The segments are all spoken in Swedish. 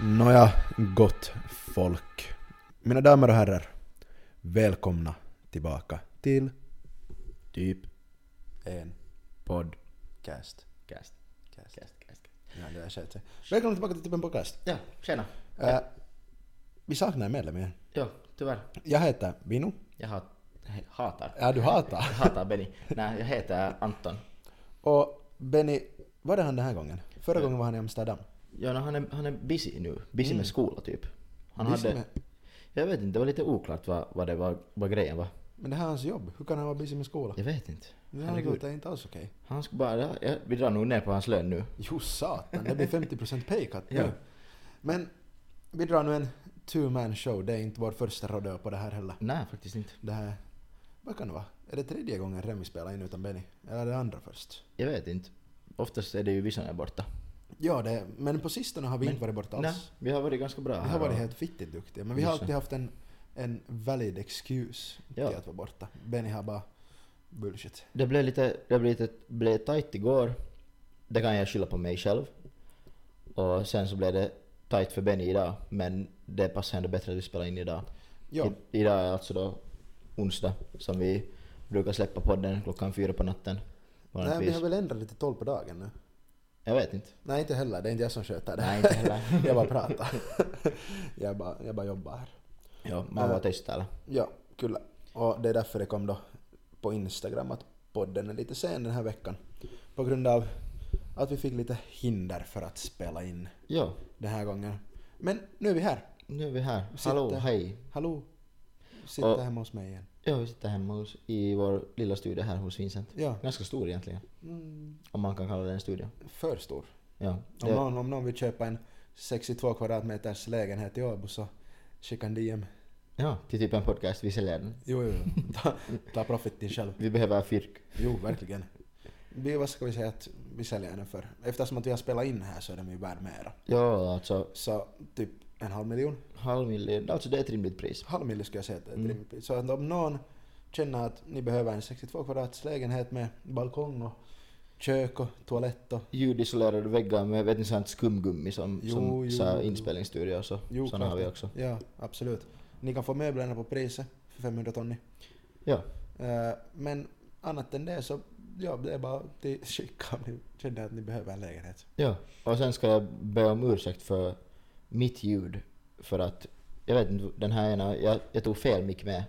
Nåja, gott folk. Mina damer och herrar, välkomna tillbaka till typ en Podd. podcast. Cast. Cast. Cast. Cast. Ja, det är skönt. Välkomna tillbaka till typ en podcast. Ja, tjena. Äh, vi saknar en medlem igen. Jo, tyvärr. Jag heter Vinu. Jag hat, he- hatar. Ja, du hatar. Jag hatar Benny. Nej, jag heter Anton. Och Benny, var är han den här gången? Förra gången var han i Amsterdam. Ja, no, han, är, han är busy nu. Busy med skola typ. Han Mm. Busy hade... med- Jag vet inte, det var lite oklart vad, vad det var vad grejen var. Men det här är hans jobb. Hur kan han vara busy med skolan? Jag vet inte. Det här Herregud. låter inte alls okej. Han ska bara... Ja, vi drar nog ner på hans lön nu. Jo satan, det blir 50% paycut nu. Ja. Men vi drar nu en two man show, det är inte vår första rodeo på det här heller. Nej, faktiskt inte. Det här, vad kan det vara? Är det tredje gången Remi spelar in utan Benny? Eller är det andra först? Jag vet inte. Oftast är det ju vissarna borta. Ja, det är, men på sistone har vi Men- inte varit borta Nej, alls. vi har varit ganska bra Vi här har varit och- helt fittigt duktiga, men vi har Just det. alltid haft en, en valid excuse Ja. till att vara borta. Benny har bara bullshit. Det blev lite, det blev lite blev tight igår. Det kan jag skylla på mig själv. Och sen så blev det tight för Benny idag. Men det passar ändå bättre att vi spelar in idag. Ja. I, idag är alltså då onsdag som vi brukar släppa podden klockan fyra på natten. Nej, vi vanligtvis. har väl ändrat det till 12 på dagen nu? Jag vet inte. Nej, inte heller. Det är inte jag som sköter det. Nej, inte heller. jag bara pratar. jag, bara, jag bara jobbar här. Ja, man var tyst eller? Ja, kyllä. Och det är därför det kom då på Instagram att podden är lite sen den här veckan. På grund av att vi fick lite hinder för att spela in Ja, den här gången. Men nu är vi här. nu är vi här. Hallå, Sitter- hej. Hallå! Sitter Och- hemma hos mig igen. Ja, vi sitter hemma hos, i vår lilla studio här hos Vincent. Ja. Ganska stor egentligen. Mm, Om man kan kalla det en studio. för stor. Ja. Om, det- någon, om någon vill köpa en 62 kvadratmeters lägenhet i Åbo så skicka en DM. Ja, till typ en podcast. Vi säljer den. Jo, jo, jo. Ta, ta profiten själv. Vi behöver fyrk. Jo, verkligen. Vi, vad ska vi säga att vi säljer den för? Eftersom att vi har spelat in här så är den ju värd mera. Ja, alltså Så typ en halv miljon. halv miljon. Alltså det är ett rimligt pris. Halv miljon skulle jag säga att det Mm. är ett rimligt pris. Så att om någon känner att ni behöver en 62 kvadrats lägenhet med balkong och kök och toalett och... Ljudisolerade väggar med vet ni, sånt skumgummi som, Jo, som jo, så här jo. inspelningsstudio och så. Såna har klart vi det. också. Ja, absolut. Ni kan få möblerna på priset för 500 tonni. Ja, Eh, Men annat än det så, ja, det är bara till skicka om ni känner att ni behöver en lägenhet. ja. Och sen ska jag be om ursäkt för mitt ljud. För att jag vet inte, den här ena, jag, jag tog fel mick med.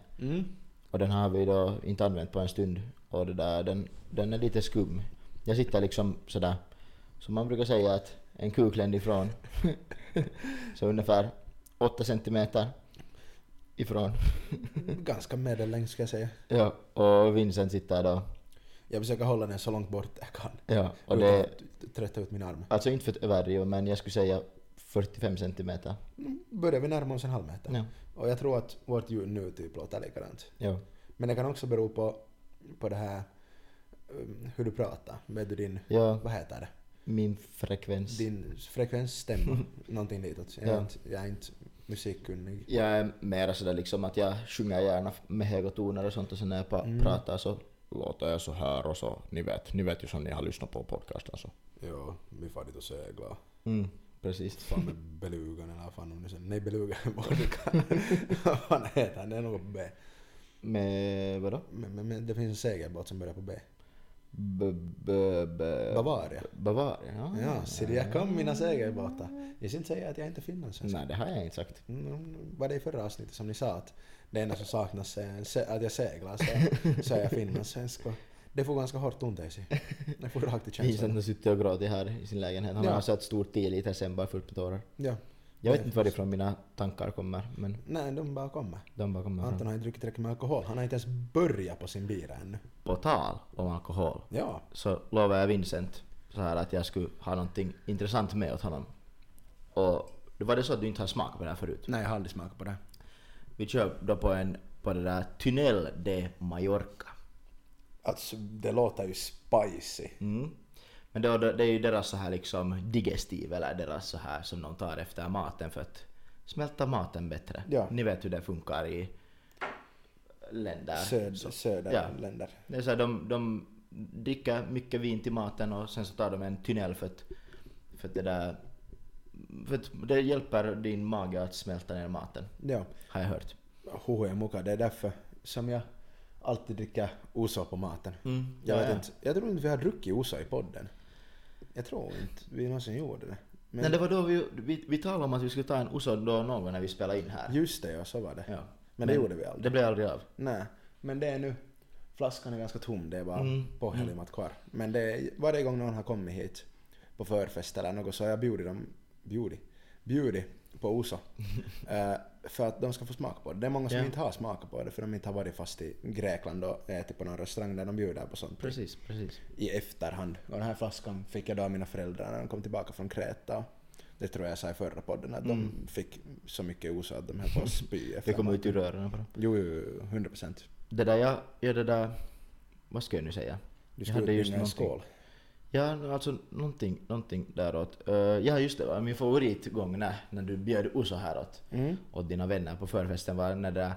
Och den har vi då inte använt på en stund. Och det där, den, den är lite skum. Jag sitter liksom sådär, som man brukar säga att en kukländ ifrån. så ungefär 8 centimeter ifrån. Ganska medellängd ska jag säga. Ja, och Vincent sitter då. Jag försöker hålla den så långt bort jag kan. Ja, och utan det, att trötta ut min arm. alltså inte för att överdriva men jag skulle säga 45 centimeter. Börjar vi närma oss en halv meter. Ja. Och jag tror att vårt ljud nu typ låter likadant. Ja. Men det kan också bero på, på det här um, hur du pratar. Vet du din, ja, vad heter det? min frekvens. Din frekvensstämma. någonting ditåt. Jag, är Ja. inte, jag är inte musikkunnig. Jag är mera sådär liksom att jag sjunger gärna med höga toner och sånt och sen när jag pa- pratar så låter jag så här och så. Ni vet, ni vet ju som ni har lyssnat på alltså. podcasten så. Jo, vi far dit och segla. Mm, precis. Fan med belugan eller vad fan hon nu sen. Nej belugan är vodka. Vad fan heter han? Det är något B. Med vadå? Men, men, men det finns en segelbåt som börjar på B. B- b- b- Bavaria. Bavaria? Ja. Ja, ser jag kan mina segelbåtar. Jag ska inte säga att jag inte är finlandssvensk. Nej, det har jag inte sagt. Mm, var det i förra avsnittet som ni sa att det enda som saknas är en se- att jag seglar så, så är jag finlandssvensk och det får ganska hårt ont i sig. Det får rakt i Vincent känslan. har suttit och gråtit här i sin lägenhet. Han Ja. har alltså ett stort teeliter sen bara fullt med tårar. Ja. Jag vet Det- inte varifrån mina tankar kommer, men Nej, de bara kommer. de bara kommer Anton fram. har inte druckit tillräckligt med alkohol. Han har inte ens börjat på sin bira ännu. På tal om alkohol. Ja. så lovade jag Vincent så här att jag skulle ha någonting intressant med åt honom. Och då var det så att du inte har smakat på det här förut. Nej, jag har aldrig smakat på det. Vi kör då på en, på det där Tunnel de Mallorca. Alltså, det låter ju spicy. Mm. Men det, det, det är ju deras så här liksom digestiv eller deras så här som de tar efter maten för att smälta maten bättre. Ja. Ni vet hur det funkar i länder. Söd, Så- Söderländer. Det är så här, de, de dricker mycket vin till maten och sen så tar de en tunnel för att, för att det där För att det hjälper din mage att smälta ner maten, Ja. har jag hört. Hoho jag mokar, det är därför som jag alltid dricker Ouzo på maten. Jag, Mm, ja, vet ja. Inte, jag tror inte vi har druckit Ouzo i podden. Jag tror inte vi någonsin gjorde det. Men Nej, det var då vi, vi, vi talade om att vi skulle ta en Oso då någon gång när vi spelade in här. just det ja, så var det. Ja. Men det gjorde vi aldrig. Det blev aldrig av. Nej, men det är nu... Flaskan är ganska tom, det är bara Mm. påhällimat kvar. Men det är, varje gång någon har kommit hit på förfest eller något så har jag bjudit dem... Bjudit? Bjudit på Oso. Eh, för att de ska få smaka på det. Det är många som Ja. inte har smakat på det för de inte har varit fast i Grekland och ätit på någon restaurang där de bjuder på sånt Precis, precis. i efterhand. Och den här flaskan fick jag då av mina föräldrar när de kom tillbaka från Kreta. Det tror jag jag sa i förra podden att de fick så mycket Oso att de höll på att spy Mm. Det efter kom ut ur rören bara. Jo, jo, jo, 100 procent. Det där jag, ja det där, vad ska jag nu säga? Du Jag skulle hade just utvinna en någonting. skål. Ja, alltså någonting, någonting däråt. Uh, ja, just det. va, Min favoritgång när, när du bjöd Oso häråt Mm. åt dina vänner på förfesten var när det där,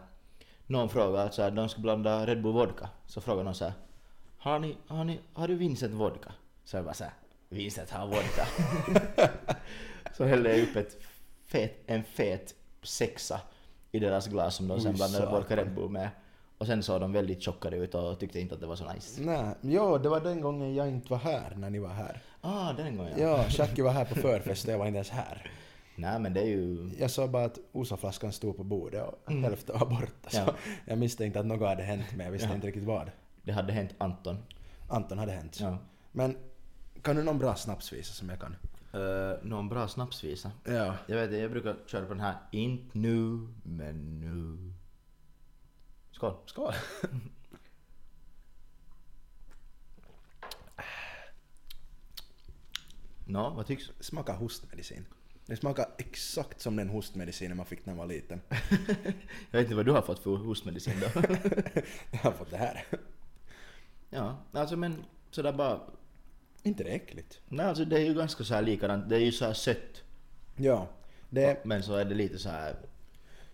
någon frågade att så här, de ska blanda Red Bull vodka. Så frågade någon så här, har, ni, har, ni, har du Vincent vodka? Så jag bara så här, Vincent har vodka. så hällde jag upp ett fet, en fet sexa i deras glas som de sen Oj, blandade satan. vodka Red Bull med. Och sen såg de väldigt chockade ut och tyckte inte att det var så nice. Nej, ja, det var den gången jag inte var här när ni var här. Ah, den gången ja. Ja, Shaki var här på förfest och jag var inte ens här. Nej men det är ju... Jag sa bara att Osa-flaskan stod på bordet och hälften var borta. Så Mm. Ja. jag misstänkte att något hade hänt men jag visste inte riktigt vad. Det hade hänt Anton. Anton hade hänt. Ja. Men kan du någon bra snapsvisa som jag kan? Eh, någon bra snapsvisa? Ja. Jag vet inte, jag brukar köra på den här. Inte nu, men nu. Skål. Skål! Nå, vad tycks? Smaka hostmedicin. Det smakar exakt som den hostmedicinen man fick när man var liten. Jag vet inte vad du har fått för hostmedicin då. Jag har fått det här. ja, alltså men sådär bara. inte det äckligt? Nej alltså det är ju ganska så här likadant. Det är ju så här sött. Ja. Det är Men så är det lite så här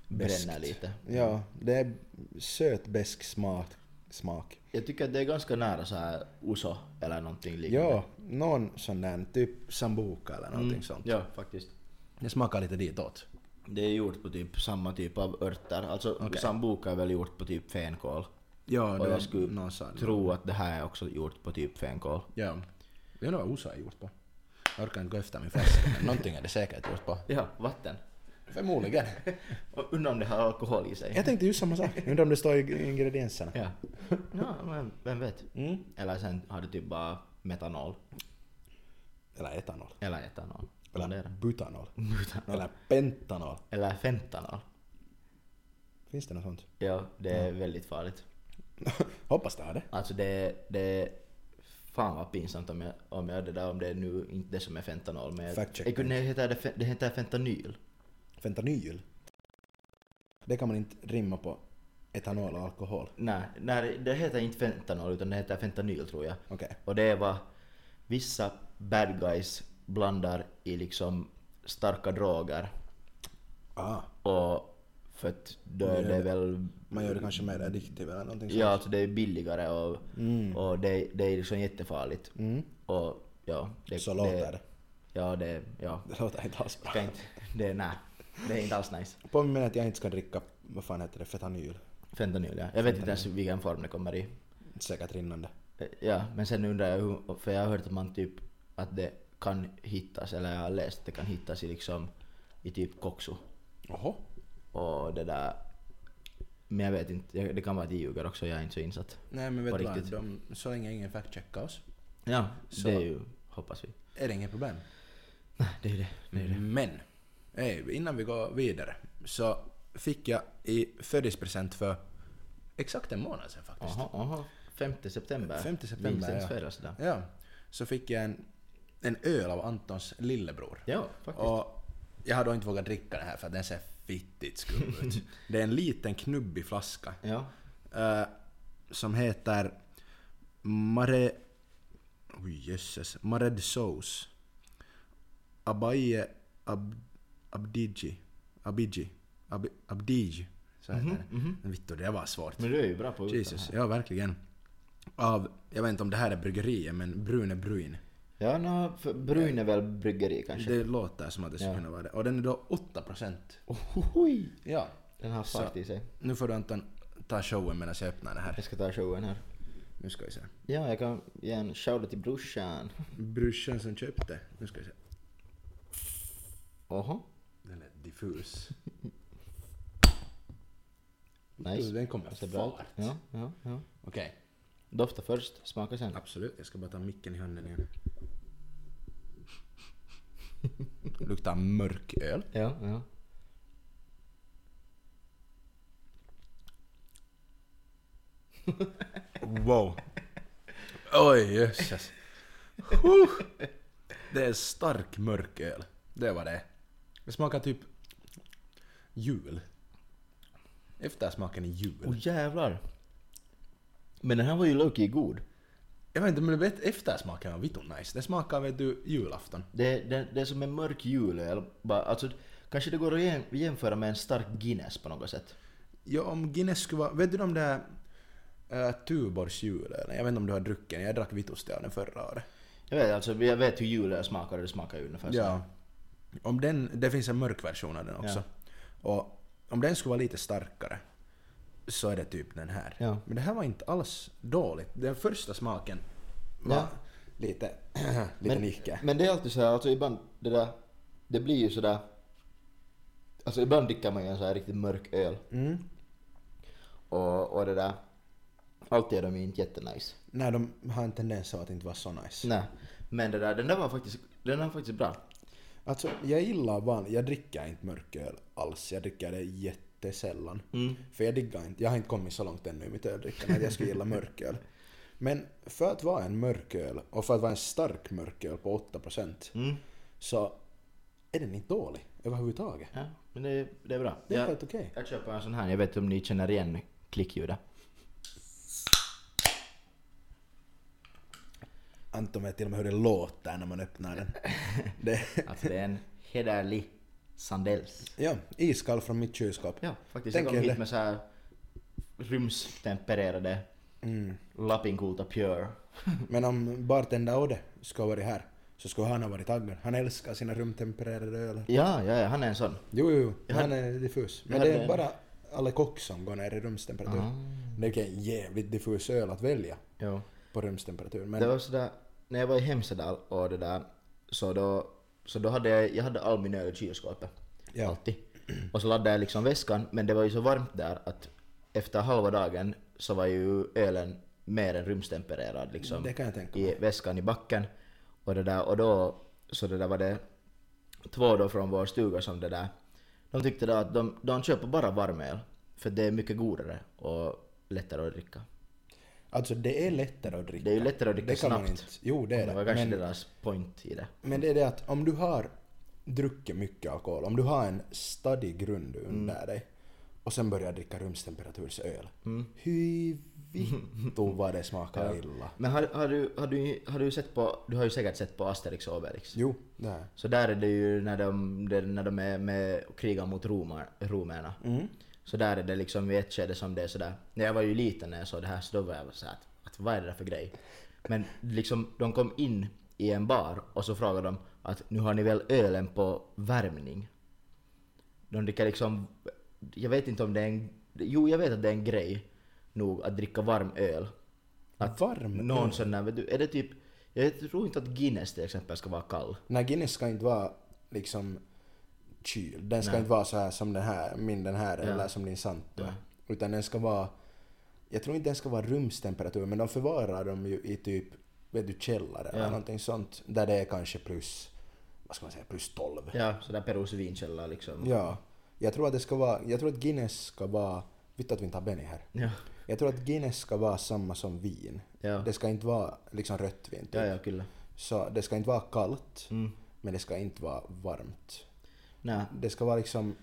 bränner Beskt. lite. Ja, det är söt besk smak. smak. Jag tycker att det är ganska nära så här Uso eller någonting liknande. Ja, någon sån där, typ sambuca eller någonting sånt. Ja, faktiskt. Det smakar lite ditåt. Det är gjort på typ samma typ av örter. Alltså sambuca är väl gjort på typ fänkål. Ja, Och det Mm. jag var skulle någon sån. Tror att det här är också gjort på typ fänkål. Ja. Jag undrar vad USA har gjort på. Jag orkar inte gå efter min flaska, men någonting är det säkert gjort på. Ja, vatten. Förmodligen. Och Undrar om det har alkohol i sig. Jag tänkte ju samma sak. Undrar om det står i ingredienserna. Ja. ja men vem vet. Mm. Eller sen har du typ bara metanol. Eller etanol. Eller etanol. Eller Eller, butanol. Eller pentanol. eller fentanol. Finns det något sånt? Ja, det är väldigt farligt. Hoppas det har det. Alltså det, det Fan vad pinsamt om jag, om jag det där, om det är nu inte det som är fentanol men... jag- Fact check. Jag kunde- det heter, det, fe- det heter fentanyl. Fentanyl. Det kan man inte rimma på etanol och alkohol. Nej, nej, det heter inte fentanol utan det heter fentanyl tror jag. Okej. Och det är vad vissa bad guys blandar i liksom starka droger. Ah, Och för att då är det väl... man gör det kanske mer addiktiv eller någonting sånt. Ja, alltså det är billigare och, Mm. och det, det är liksom jättefarligt. Och ja, det, Så låter det. Ja, det... Ja. Det låter inte alls bra. Ska inte, det, nej, det är inte alls nice. Påminn att jag inte ska dricka, vad fan heter det, fentanyl. Fentanyl, ja. Jag vet inte ens vilken form det kommer i. Säkert rinnande. Eh, Ja, men sen undrar jag hur, för jag har hört att man typ, att det kan hittas, eller jag har läst att det kan hittas i liksom, i typ koksu. Jaha. Och det där, men jag vet inte, jag- det kan vara att jag ljuger också, jag är inte så insatt. Nej men vet På du vad, riktigt. de, så länge ingen fact-checkar oss Ja, Så- det är ju, hoppas vi. Mm. är det inget problem. Nej, det är ju det. det, är ju det. Men, eh, innan vi går vidare så fick jag i födelsedagspresent för exakt en månad sedan faktiskt. Aha, aha. 5 september. 5 september, Vincents ja. födelsedag. Ja, så fick jag en, en öl av Antons lillebror. Ja, faktiskt. Och jag har då inte vågat dricka den här för att den ser fittigt skum ut. Det är en liten knubbig flaska. Ja. eh, som heter Mare... Oj jösses. Mared Sauce. Abaye Ab, Abdigi. Abidji. Ab, Abdigi. Så heter den. Vittu, det var svårt. Mhm, Men du är ju bra på att uttala. Jesus, ja verkligen. Av, jag vet inte om det här är bryggeriet, men Brune Bruin. Ja, nå, för brun är väl bryggeri kanske? Det låter som att det skulle Ja. kunna vara det. Och den är då 8%. Ohohoj! Ja. Den har fart i sig. Nu får du Anton ta showen medan jag öppnar det här. Jag ska ta showen här. Nu ska vi se. Ja, jag kan ge en shoutout till brorsan. Brorsan som köpte. Nu ska vi se. Oho. Den lät diffus. Nice. Den kommer Det ser bra fart. ut. Ja, ja, ja. Okej. Dofta först, smaka sen. Absolut, jag ska bara ta micken i handen igen. Luktar mörk öl. Ja, ja. Wow. Oj, jösses. Huh. Det är stark mörk öl. Det var det Det smakar typ jul. Eftersmaken är jul. Åh jävlar! Men den här var ju lowkey god. Jag vet inte, men vet, eftersmaken var vittu nice. Det smakar vet du julafton. Det, det, det är som en mörk julöl. Bara, alltså, kanske det går att jäm- jämföra med en stark Guinness på något sätt. Ja, om Guinness skulle vara... Vet du de där uh, Tuborgs julölen? Jag vet inte om du har druckit den. Jag drack vitus till den förra året. Jag vet, alltså, jag vet hur julöl smakar och det smakar ju ungefär så. Ja. Om den, det finns en mörk version av den också. Och om den skulle vara lite starkare så är det typ den här. Ja. Men det här var inte alls dåligt. Den första smaken var Ja. lite, lite nicka. Men det är alltid så här, alltså ibland det där, det blir ju sådär, alltså ibland dricker man ju en så här riktigt mörk öl. Mm. Och, och det där, alltid är de ju inte jättenice. Nej, de har en tendens av att inte vara så nice. Nej, men det där, den där var faktiskt, den där var faktiskt bra. Alltså, jag gillar van... Jag dricker inte mörköl alls. Jag dricker det jättesällan. För jag diggar inte... Jag har inte kommit så långt ännu i mitt öldrickande att jag skulle gilla mörköl. Men för att vara en mörköl och för att vara en stark mörköl på 8% Mm. så är den inte dålig överhuvudtaget. Ja, men det, det är bra. Det är jag, helt okej. jag köper en sån här, jag vet inte om ni känner igen klickljudet. Anton vet till och med hur det låter när man öppnar den. Det... Alltså det är en hederlig Sandells. Ja, iskall från mitt kylskåp. Ja, faktiskt. Tänk jag er kom hit det. med så här rumstempererade Mm. Lappinkulta Pure. Men om bartender Ode skulle ha varit här så skulle han ha varit taggad. Han älskar sina rumtempererade öl. Ja, ja, ja, han är en sån. Jo, jo, han är diffus. Men hade Ah. det är en- bara alla kock som går ner i rumstemperatur. Det är ju en jävligt diffus öl att välja Jo. på rumstemperatur. Det Men var sådär, när jag var i Hemsedal och det där, så då, så då hade jag, jag hade all min öl i kylskåpet. Ja. Alltid. Och så laddade jag liksom väskan, men det var ju så varmt där att efter halva dagen så var ju ölen mer än rumstempererad liksom. det kan jag tänka mig. i väskan i backen. Och, det där, och då så det där var det två då från vår stuga som det där. De tyckte då att de, de köper bara varmöl. För det är mycket godare och lättare att dricka. Alltså det är lättare att dricka. Det är ju lättare att dricka Det kan man snabbt. inte. Jo, det är Det det. var kanske Men, deras point i det. men det är det att om du har druckit mycket alkohol, om du har en stadig grund Mm. under dig och sen börjar dricka rumstemperatursöl. Mm. Hur vittu vad det smakar illa. Men har, har, du, har, du, har du sett på, du har ju säkert sett på Asterix och Obelix. Jo, det här. Så där är det ju när de, det, när de är med och krigar mot romar, romerna. Så där är det liksom i ett skede som det är sådär. När jag var ju liten när jag såg det här så då var jag såhär att, att vad är det där för grej? Men liksom de kom in i en bar och så frågade de att nu har ni väl ölen på värmning? De dricker liksom, jag vet inte om det är en, jo jag vet att det är en grej nog att dricka varm öl. Att Varm någon sån där, vet du, är det typ, jag tror inte att Guinness till exempel ska vara kall. Nej, Guinness ska inte vara liksom kyld. Den ska inte vara så här som den här, min den här eller som din Santo. Utan den ska vara, jag tror inte den ska vara rumstemperatur men de förvarar dem ju i typ, vet du, källare eller någonting sånt. Där det är kanske plus, vad ska man säga, plus 12. Ja, sådär Perus vinkälla liksom. Ja. Jag tror att det ska vara, jag tror att Guinness ska vara, vet du att vi inte har Benny här? Ja. Jag tror att Guinness ska vara samma som vin. Ja. Det ska inte vara liksom rött vin typ. Ja, ja, kyllä. Så det ska inte vara kallt, Mm. men det ska inte vara varmt. Nä. Det ska vara liksom,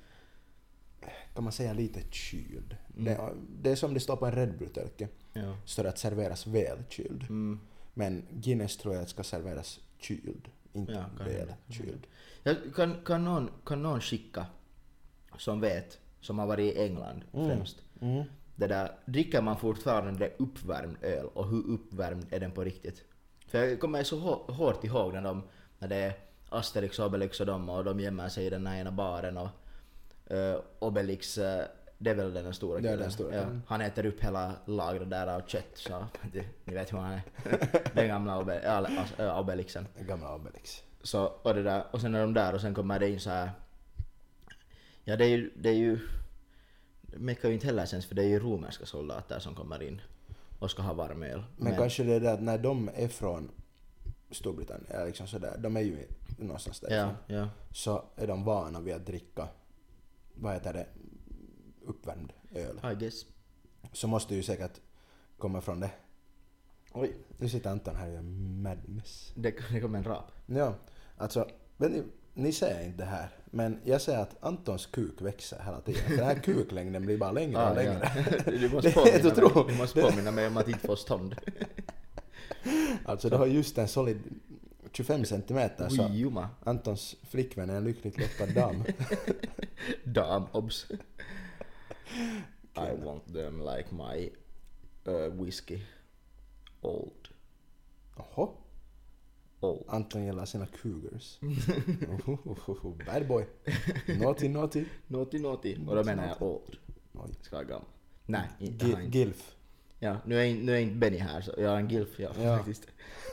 kan man säga lite kyld. Mm. Det, det är som det står på en Red Bull-turkey. Ja. Står det att serveras välkyld. Mm. Men Guinness tror jag ska serveras kyld, inte Ja, kan hända. välkyld. Ja, kan, kan, någon, kan någon skicka som vet, som har varit i England Mm. främst. Det där, dricker man fortfarande uppvärmd öl och hur uppvärmd är den på riktigt? För jag kommer så hå- hårt ihåg när, de, när det är Asterix och Obelix och dem och de gömmer sig i den här ena baren och eh, Obelix, eh, det är väl den stora Det är killen? den stora mm. ja, killen. Han äter upp hela lagret där av kött så ni vet hur han är. Den gamla Obe, ja, alltså, ö, Obelixen. Gamla Obelix. Så, och, det där, och sen är de där och sen kommer det in så här. Ja det är ju, det är ju det mekar ju inte heller sens för det är ju romerska soldater som kommer in och ska ha varm öl. Men, kanske det är det att när de är från Storbritannien, eller liksom sådär, de är ju någonstans därifrån. ja, ja. så är de vana vid att dricka, vad heter det, uppvärmd öl. I guess. Så måste ju säkert komma från det. Oj. Nu sitter Anton här och gör madness. Det, det kom en rap. Ja, alltså, vet ni, ni ser inte det här, men jag ser att Antons kuk växer hela tiden. För den här kuklängden blir bara längre och längre. Ah, Du Det är måste helt påminna mig, otroligt. du måste påminna mig om att inte få stånd. Alltså, du har just en solid 25 centimeter så Oj, Juma. Antons flickvän är en lyckligt lottad dam. Dam, obs. I want them like my uh, whiskey. Old. Jaha, Old. Anton gillar sina cougars. Ohohoho, Bad boy. Naughty, naughty. Naughty naughty. Och då menar jag old. Oj. Ska vara gammal. Nej, inte Gi- han. Gilf. Ja, nu är, in- nu är inte Benny här så, jag är en gilf ja, Ja. faktiskt.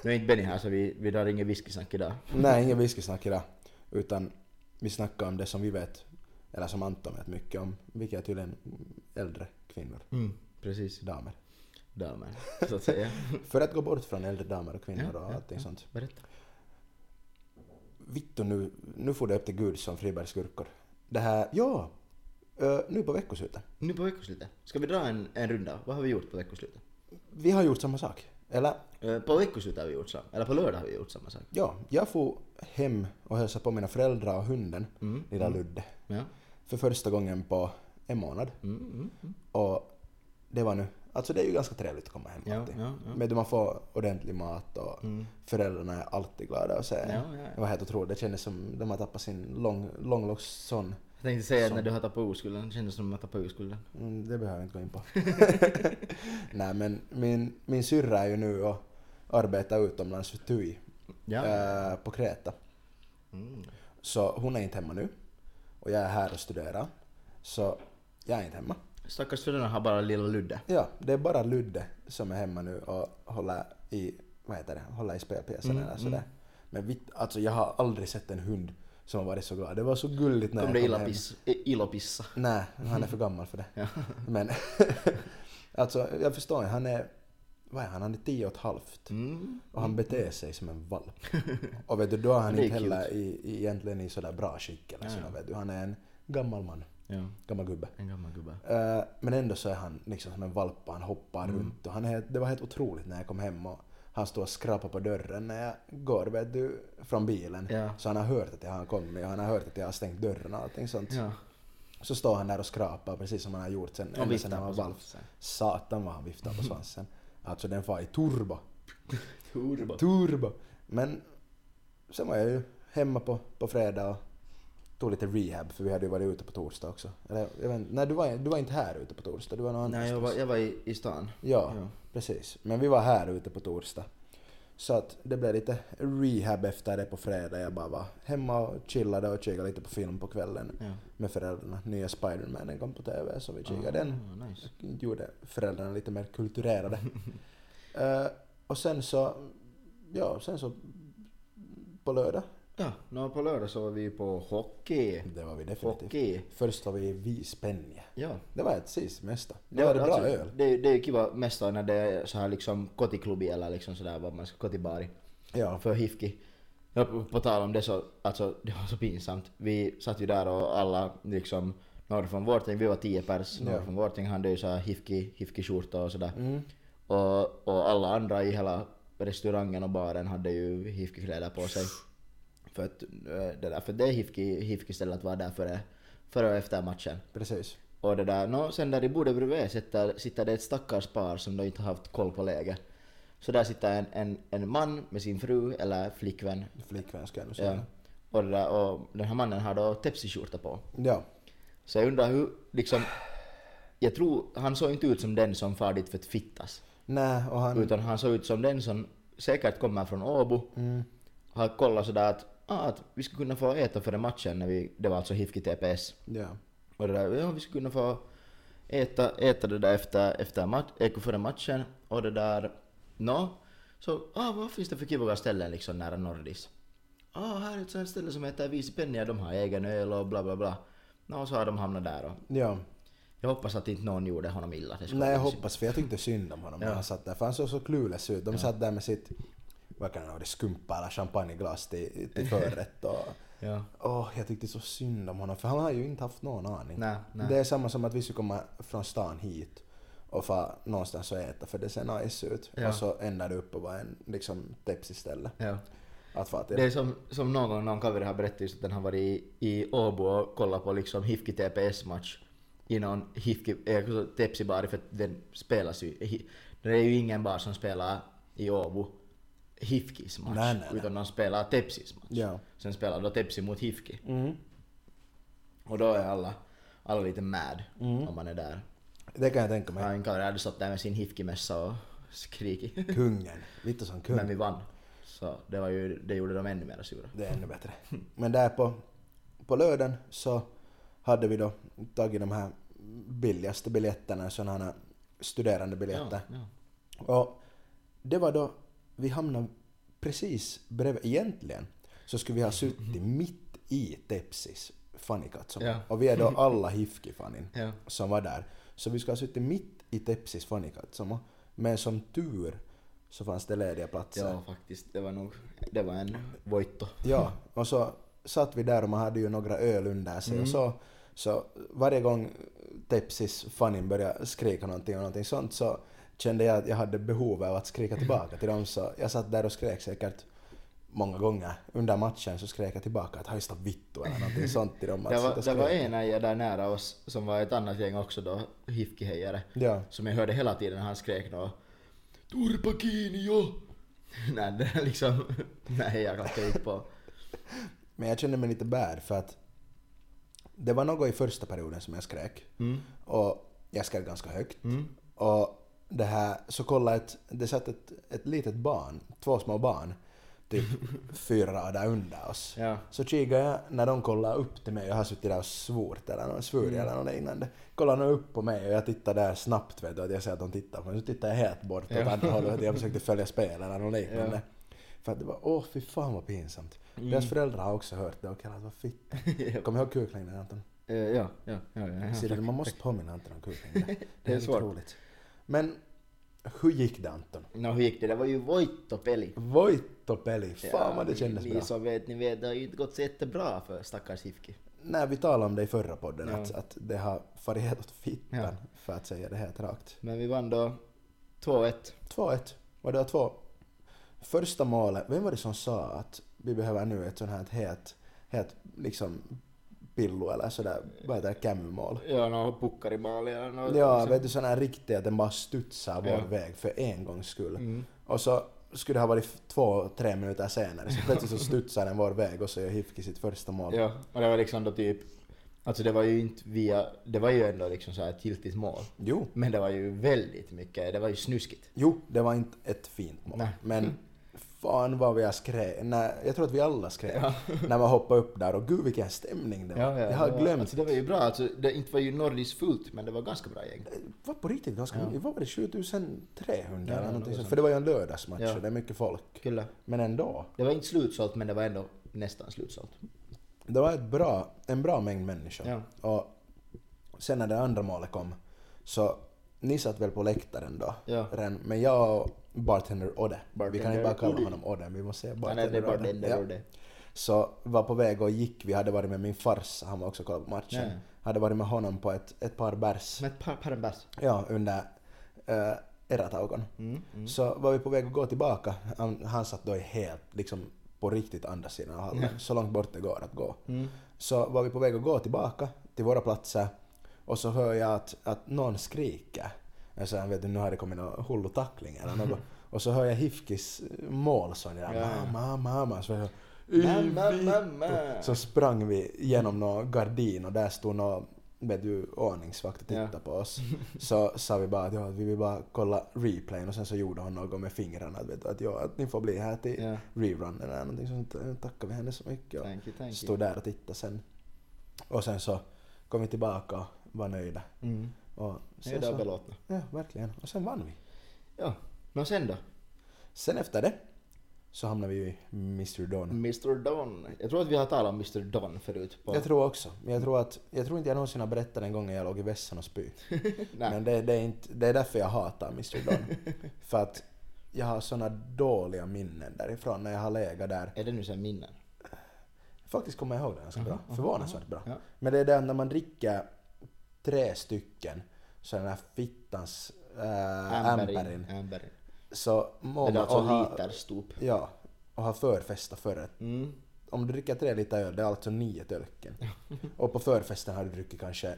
Nu är inte Benny här så vi, vi drar ingen whiskysnack idag. Nej, ingen whiskysnack idag. Utan vi snackar om det som vi vet, eller som Anton vet mycket om, vilket är tydligen äldre kvinnor, Precis. damer. Damen, så att säga. För att gå bort från äldre damer och kvinnor och allting sånt. Berätta. Vittu, nu, nu får det upp till Gud som Fribergs skurkor. Det här, ja! ö, nu på veckoslutet. Nu på veckoslutet. Ska vi dra en, en runda? Vad har vi gjort på veckoslutet? Vi har gjort samma sak. Eller Eh, På veckoslutet har vi gjort samma, eller på lördag har vi gjort samma sak. ja, jag får hem och hälsa på mina föräldrar och hunden, Mm. lilla Ludde. Ja. Mm, För första gången på en månad. Och det var nu, alltså det är ju ganska trevligt att komma hem Ja, alltid. ja, ja. Mm. Men man får ordentlig mat och föräldrarna är alltid glada och så. Ja, ja, ja. Det var helt otroligt, det kändes som de har tappat sin lång, långlocksson. Jag tänkte säga att när du har tappat oskulden, det kändes som att tappa oskulden. Mm, det behöver jag inte gå in på. Nej men min, min syrra är ju nu och arbetar utomlands för TUI Ja. eh, på Kreta. Mm. Så hon är inte hemma nu. Och jag är här och studerar. Så jag är inte hemma. Stackars föräldrarna har bara lilla Ludde. Ja, det är bara Ludde som är hemma nu och håller i, vad heter det, håller i spelpjäsen Mm, eller sådär. Men vitt, alltså jag har aldrig sett en hund som har varit så glad. Det var så gulligt när Kom jag det kom illa hem. piss- eh, illa pissa. Nej, han är för gammal för det. Men alltså jag förstår ju, han är, vad är han, han är tio och ett halvt. Mm. Och han beter sig som en valp. Och vet du, då är han Det är inte heller i, i, egentligen i sådär bra skick eller sådär, vet du. Han är en gammal man, Ja, gammal gubbe. en gammal gubbe. Eh, Men ändå så är han liksom som en valp och han hoppar Mm. runt och han är, helt- det var helt otroligt när jag kom hem och han står och skrapar på dörren när jag går vet du, från bilen. Ja. Så han har hört att jag har kommit och han har hört att jag har stängt dörren och allting sånt. Ja. Så står han där och skrapar precis som han har gjort sen, Han ända sen viftar han var på valp. svansen. Satan vad han viftar på svansen. Alltså den far i turbo. Turbo. Turbo! Men sen var jag ju hemma på, på fredag och tog lite rehab för vi hade ju varit ute på torsdag också. Eller, jag vet, inte, nej, du var, du var inte här ute på torsdag, du var någon Nej, jag annanstans. var, jag var i, i stan. Ja, Ja. precis. Men vi var här ute på torsdag. Så att det blev lite rehab efter det på fredag. Jag bara var hemma och chillade och kikade lite på film på kvällen Ja. med föräldrarna. Nya Spiderman kom på TV så vi kikade den. Ah, nice. Gjorde föräldrarna lite mer kulturerade. Eh, och sen så, ja sen så på lördag. Ja, nu på lördag så var vi på hockey. Det var vi definitivt. Hockey. Först var vi i Vispenje. Ja. Det var ett sist mesta. Det var det bra alltså, öl. Det, är- det är ju kiva mest när det är så här liksom kotiklubbi eller liksom sådär vad man ska, kotibari. Ja, För hifki. Ja, på, på tal om det så, alltså det var så pinsamt. Vi satt ju där och alla liksom, några från vårt gäng, vi var tio pers, några Ja. från vårt gäng hade ju såhär hifki, hifki-skjorta och sådär. Och, och alla andra i hela restaurangen och baren hade ju hifki-kläder på sig. För att eh, det där, för det är hifki, hifki-stället var där före, före och efter matchen. precis. Och det där, nå sen där i bordet bredvid sitter, sitter det ett stackars par som då inte har haft koll på läget. Så där sitter en, en, en man med sin fru eller flickvän. Flickvän ska jag nu säga. Ja. Och, det där, och den här mannen har då tepsiskjorta på. Ja. Så jag undrar hur, liksom, jag tror han såg inte ut som den som far dit för att fittas. Nej, och han... Utan han såg ut som den som säkert kommer från Åbo Mm. har kollat sådär att, ah, att vi skulle kunna få äta före matchen när vi, det var alltså HIFK TPS. Ja. Och det där, ja vi skulle kunna få äta, äta det där efter, efter mat, eh, före matchen och det där, nå. Så, ah, vad finns det för kivoga ställen liksom nära Nordis? Ah, här är ett sånt ställe som heter Visipennia, de har egen öl och bla bla bla. Nå, så har de hamnat där och ja. jag hoppas att inte någon gjorde honom illa. Det skulle Nej jag vara hoppas för jag tyckte synd om honom när Ja. han satt där för han såg så clueless ut. De satt där med sitt, vad kan det vara, det skumpa eller champagneglas till, till förrätt och... synd. Ja. Åh, jag tyckte så synd om honom för han har ju inte haft någon aning. Nej, nej. Det är samma som att vi skulle komma från stan hit och få någonstans att äta för det ser nice ut. Ja. Och så ändar det upp och var en liksom teps istället. ja. Att få att Det är som, som någon gång någon kaveri har berättat just att den har varit i, i Åbo och kollat på liksom Hifki TPS-match i någon Hifki, eh, alltså Tepsi-bar för att den spelas ju, hi- det är ju ingen bar som spelar i Åbo Hifkis match Nej, nej, nej. utan de spelar Tepsis match. Ja. Sen spelar då Tepsi mot Hifki Mm. och då är alla, alla lite mad Mm. om man är där. Det kan jag tänka Ja, mig. en kaveri hade stått där med sin Hifki-mössa och skrikit. Kungen. Vittu som kung. Men vi vann. Så det, var ju, det gjorde de ännu mer sura. Det är ännu bättre. Men där på, på lördagen så hade vi då tagit de här billigaste biljetterna, sådana här studerandebiljetter. ja. Och det var då, vi hamnade precis bredvid, egentligen så skulle vi ha suttit mitt i Tepsis fanikatsomo. Mm. Ja. Och vi är då alla hifkifanin Ja. som var där. Så vi skulle ha suttit mitt i Tepsis fanikatsomo. Men som tur så fanns det lediga platser. Ja, faktiskt. Det var nog... Det var en voitto. Ja, och så satt vi där och man hade ju några öl under sig Mm. och så, så varje gång Tepsis fanin började skrika någonting och någonting sånt så kände jag att jag hade behov av att skrika tillbaka till dem så jag satt där och skrek säkert många gånger under matchen så skrek jag tillbaka att hajsta vittu eller någonting sånt till dem. att Det sitta var, och det var skrika. en äja där nära oss som var ett annat gäng också då, hifkihejare. Ja. Som jag hörde hela tiden han skrek då Turpakinio! Nej, det är liksom... Nej, jag kan inte på. Men jag kände mig lite bad för att det var något i första perioden som jag skrek. Och jag skrek ganska högt. Mm. Och det här, så kolla ett, det satt ett, ett litet barn, två små barn, typ fyra rader under oss. Ja. Så kikade jag när de kollade upp till mig, jag har suttit där och svort eller något, svurit Mm. eller något liknande. Kollade de upp på mig och jag tittade där snabbt vet du, att jag ser att de tittar på mig. Så tittade jag helt bort åt Ja. andra hållet, att jag försökte följa spel eller något liknande. För att det var, åh fy fan vad pinsamt. Mm. Deras föräldrar har också hört det och kallat vad fitt. Kommer ihåg kuklängden Anton? Eh, ja, ja, ja, ja. Ser du, man måste påminna Anton om kuklängden. Det är svårt. roligt. Men hur gick det Anton? Nå, hur gick det? Det var ju voittopeli. Voittopeli, fan vad det Ja, kändes ni, bra. Ni som vet, ni vet, det har ju inte gått så jättebra för stackars hifki. När vi talade om det i förra podden, Ja. att, att det har farit helt åt fittan, Ja. för att säga det helt rakt. Men vi vann då 2-1. 2-1, var det två? Första målet, vem var det som sa att vi behöver nu ett sånt här helt, helt liksom pillo eller sådär, vad heter det, camu-mål? Ja, någon puckar i mål eller något. Ja, vet du sådana här riktiga, att den bara studsar vår Ja. väg för en gångs skull. Mm. Och så skulle det ha varit f- två, tre minuter senare, så plötsligt så studsar den vår väg och så gör Hifki sitt första mål. Ja, och det var liksom då typ... Alltså det var ju inte via... Det var ju ändå liksom så här ett giltigt mål. Jo, Men det var ju väldigt mycket, det var ju snuskigt. Jo, det var inte ett fint mål. Nej. Men fan vad vi har skrek. Nej, jag tror att vi alla skrek när man hoppade upp där och gud vilken stämning det var. jag har det var, glömt. Alltså det var ju bra, alltså det inte var ju Norris fullt men det var ganska bra gäng. Det var på riktigt ganska mycket. Vad var det? 7300 Ja, eller något någonting sånt. sånt. För det var ju en lördagsmatch Ja. och det är mycket folk. Kyllä. Men ändå. Det var inte slutsålt men det var ändå nästan slutsålt. Det var ett bra, en bra mängd människor. Ja. Och sen när det andra målet kom så ni satt väl på läktaren då? Ja. Ren, men jag och bartender Odde, vi kan Bartender inte bara kalla Odde. honom Odde, vi måste säga Han är det bartender Odde. bartender Ja. och det. så var på väg och gick. Vi hade varit med min farsa, han var också och kollade på matchen. Nej. Hade varit med honom på ett, ett par bärs Som ett par, par en bärs. Mm. ja, under äh, erataugon. Så var vi på väg att gå tillbaka. Han, han satt då i helt, liksom på riktigt andra sidan av hallen, Mm. så långt bort det går att gå. Så var vi på väg att gå tillbaka till våra platser och så hör jag att, att någon skriker. Jag sa, vet du, nu har det kommit någon hullu tackling eller något. Och så hör jag Hifkis målsång där, Ja. mamma, mamma. Så jag, Mamma, "Ivittu." mamma. Så sprang vi genom någon gardin och där stod någon vet du, ordningsvakt och tittade på oss. Så sa vi bara att, ja, att vi vill bara kolla replayen och sen så gjorde hon något med fingrarna. Att, vet du, att, ja, att ni får bli här till Ja. rerunnen eller någonting sånt. Eh, Tackar vi henne så mycket. Och Thank you, thank you. stod där och tittade sen. Och sen så kom vi tillbaka och var nöjda. Mm. Och Nöjda sen och så, belåtna. ja, verkligen. Och sen vann vi. Ja. Nå sen då? Sen efter det så hamnade vi i Mr. Don. Mr Don. Jag tror att vi har talat om Mr Don förut. På... Jag tror också. Men jag tror att, jag tror inte jag någonsin har berättat den gången jag låg i vässan och spy. Nej. Men det, det, är inte, det är därför jag hatar Mr. Don. För att jag har såna dåliga minnen därifrån när jag har legat där. Är det nu sen Äh, minnen? Faktiskt kommer jag ihåg det ganska bra. Förvånansvärt bra. Ja. Men det är det när man dricker tre stycken så den här fittans äh, amberin. Amberin. Så mår Eller man och alltså har, literstop. ja, och har förfesta före Mm. om du dricker tre liter öl, det är alltså nio tölken. Och på förfesten har du druckit kanske,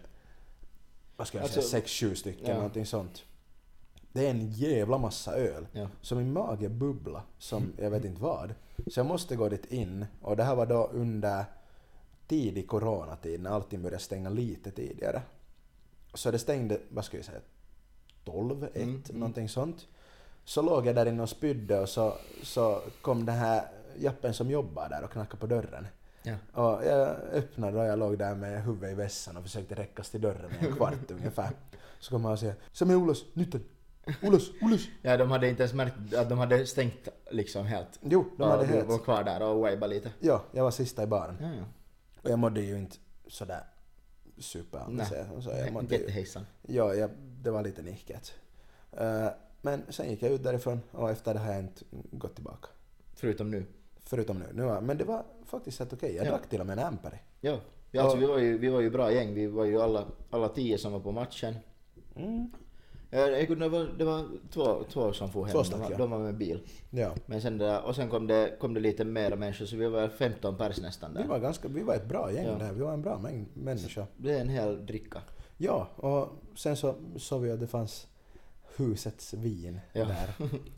vad ska jag Alltså- säga, sex, sju stycken, Ja. någonting sånt. Det är en jävla massa öl. Ja. Så min mage bubbla Mm. som jag vet inte vad. Så jag måste gå dit in och det här var då under tidig coronatid när allting började stänga lite tidigare. Så det stängde, vad ska jag säga, 12, 1, Mm, mm. någonting sånt. Så låg jag där inne och spydde och så, så kom den här jappen som jobbar där och knackade på dörren. Ja. Och jag öppnade och jag låg där med huvudet i vässan och försökte räckas till dörren i en kvart ungefär. Så kom han och säger ”Sami ulos, nytten! Ulos, ulos!” ja, de hade inte ens märkt att de hade stängt liksom helt. Jo, de hade Och vi helt. var kvar där och wabade lite. Ja, jag var sista i baren. Ja, ja. Och jag mådde ju inte sådär super om jag Nej. säger som så. Jag He- mådde ju, Jättehejsan. ja, jag, det var lite nicket. Eh, men sen gick jag ut därifrån och efter det har jag inte gått tillbaka. Förutom nu. Förutom nu. nu var, men det var faktiskt helt okej. Jag Ja. drack till och med en Amperi. Ja. Vi, alltså, vi, var ju, vi var ju bra gäng. Vi var ju alla, alla tio som var på matchen. Mm. Ja, jag kunde- det, var, det var två, två som for hem. Två stack, de, var, ja. de var med bil. Ja. Men sen det där, och sen kom det, kom det lite mer människor så vi var 15 pers nästan Vi där. var, ganska, vi var ett bra gäng Ja. där. Vi var en bra mängd människor. Det är en hel dricka. Ja, och sen så såg vi att det fanns husets vin Ja. där.